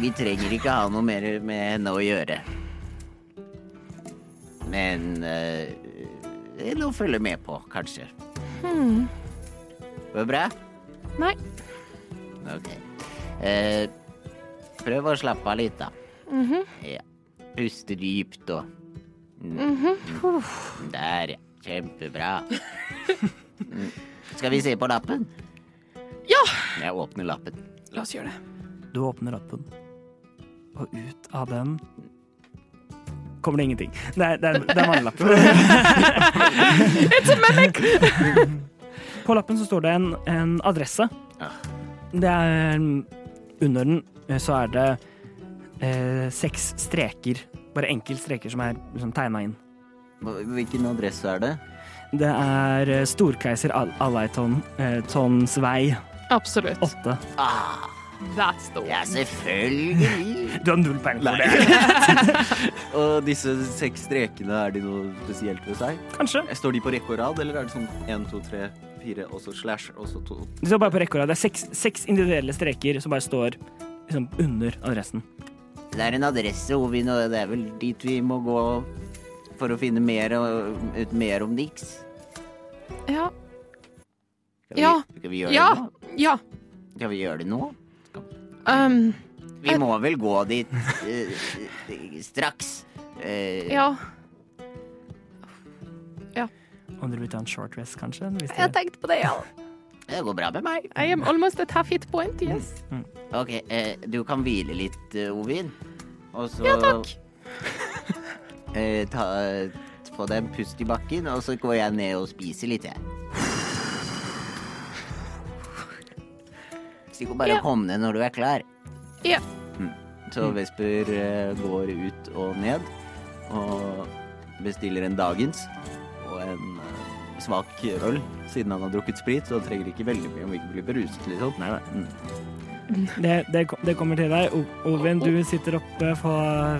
Vi trenger ikke ha noe mer med henne å gjøre. Men eh, det er noe å følge med på, kanskje. Går det bra? Nei. Ok. Eh, prøv å slappe av litt, da. Ja. Puste dypt og Mm. Der, ja. Kjempebra. Mm. Skal vi se på lappen? Ja! Jeg åpner lappen. La oss gjøre det. Du åpner lappen, og ut av den kommer det ingenting. Det er, det er, det er en vanlig lapp. På lappen så står det en, en adresse. Ah. Det er Under den eh, så er det eh, seks streker. Bare enkelte streker som er liksom, tegna inn. Hva- Hvilken adresse er det? Det er eh, Storkeiser Al Alaitons eh, Tons vei Absolutt. 8. Ah, That's the ja, selvfølgelig. Du har null poeng for det. Og disse seks strekene, er de noe spesielt ved seg? Kanskje. Står de på rekke og rad, eller er det sånn én, to, tre, fire, og så slash, og så to Det står bare på rekke og rad. Det er seks, seks individuelle streker som bare står liksom, under adressen. Det er en adresse, Ovin, og det er vel dit vi må gå for å finne mer, og- ut mer om Nix. Ja. Skal vi, Ja. Skal vi gjøre Ja. det nå? ja. Skal vi gjøre det nå? Um, Vi må vel gå dit eh, eh, straks. Eh, ja. Om dere vil ta en short rest, kanskje? Hvis Jeg dere... tenkte på det, ja. Det går bra med meg. I am almost at half hit point, yes. Ok, eh, du kan hvile litt, eh, Ovin. Og så Ja, takk. eh, ta, få deg en pust i bakken, og så går jeg ned og spiser litt, jeg. Så du kan bare Ja. komme ned når du er klar. Ja. Mm. Så Vesper eh, går ut og ned, og bestiller en dagens og en eh, svak øl, siden han har drukket sprit, så han trenger ikke veldig mye om ikke blir beruset, liksom. Nei, nei. Det, det, kom- det kommer til deg. O- Ovin, du sitter oppe på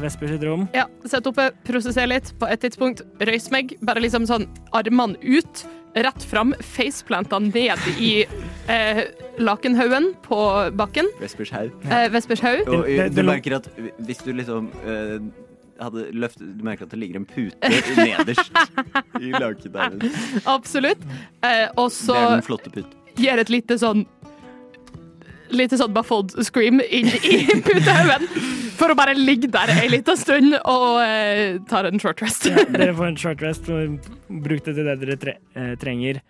Vesper sitt rom. Ja, sett oppe, prosesser litt. På et tidspunkt røys meg, bare liksom sånn armene ut, rett fram, faceplanta ned i eh, lakenhaugen på bakken. Vespers haug. Eh, Vespers haug. Og Det- det- du det- merker at hvis du liksom eh, hadde løftet Du merker at det ligger en pute nederst i lakenhaugen. Det Absolutt. Eh, og så er den flotte puten. gjør et lite sånn Lite sånn baffled scream inn i putehaugen for å bare ligge der ei lita stund og eh, tar en short rest. Dere får en short rest og bruk det til det dere tre, eh, trenger.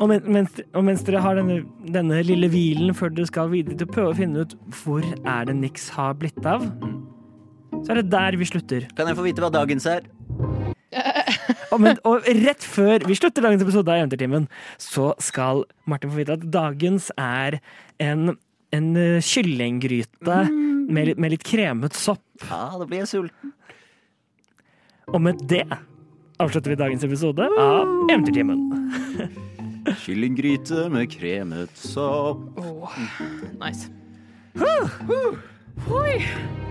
Og, men, mens, og mens dere har denne, denne lille hvilen før dere skal videre til å prøve å finne ut hvor er det Nix har blitt av, så er det der vi slutter. Kan jeg få vite hva dagens er? Og, men, og rett før vi slutter dagens episode av Eventyrtimen, så skal Martin få vite at dagens er en, en eh, kyllinggryte med, litt- med litt kremet sopp. Ja, da blir jeg sulten. Og med det avslutter vi dagens episode av Eventyrtimen. Kyllinggryte med kremet sopp. Åh, nice. Oi.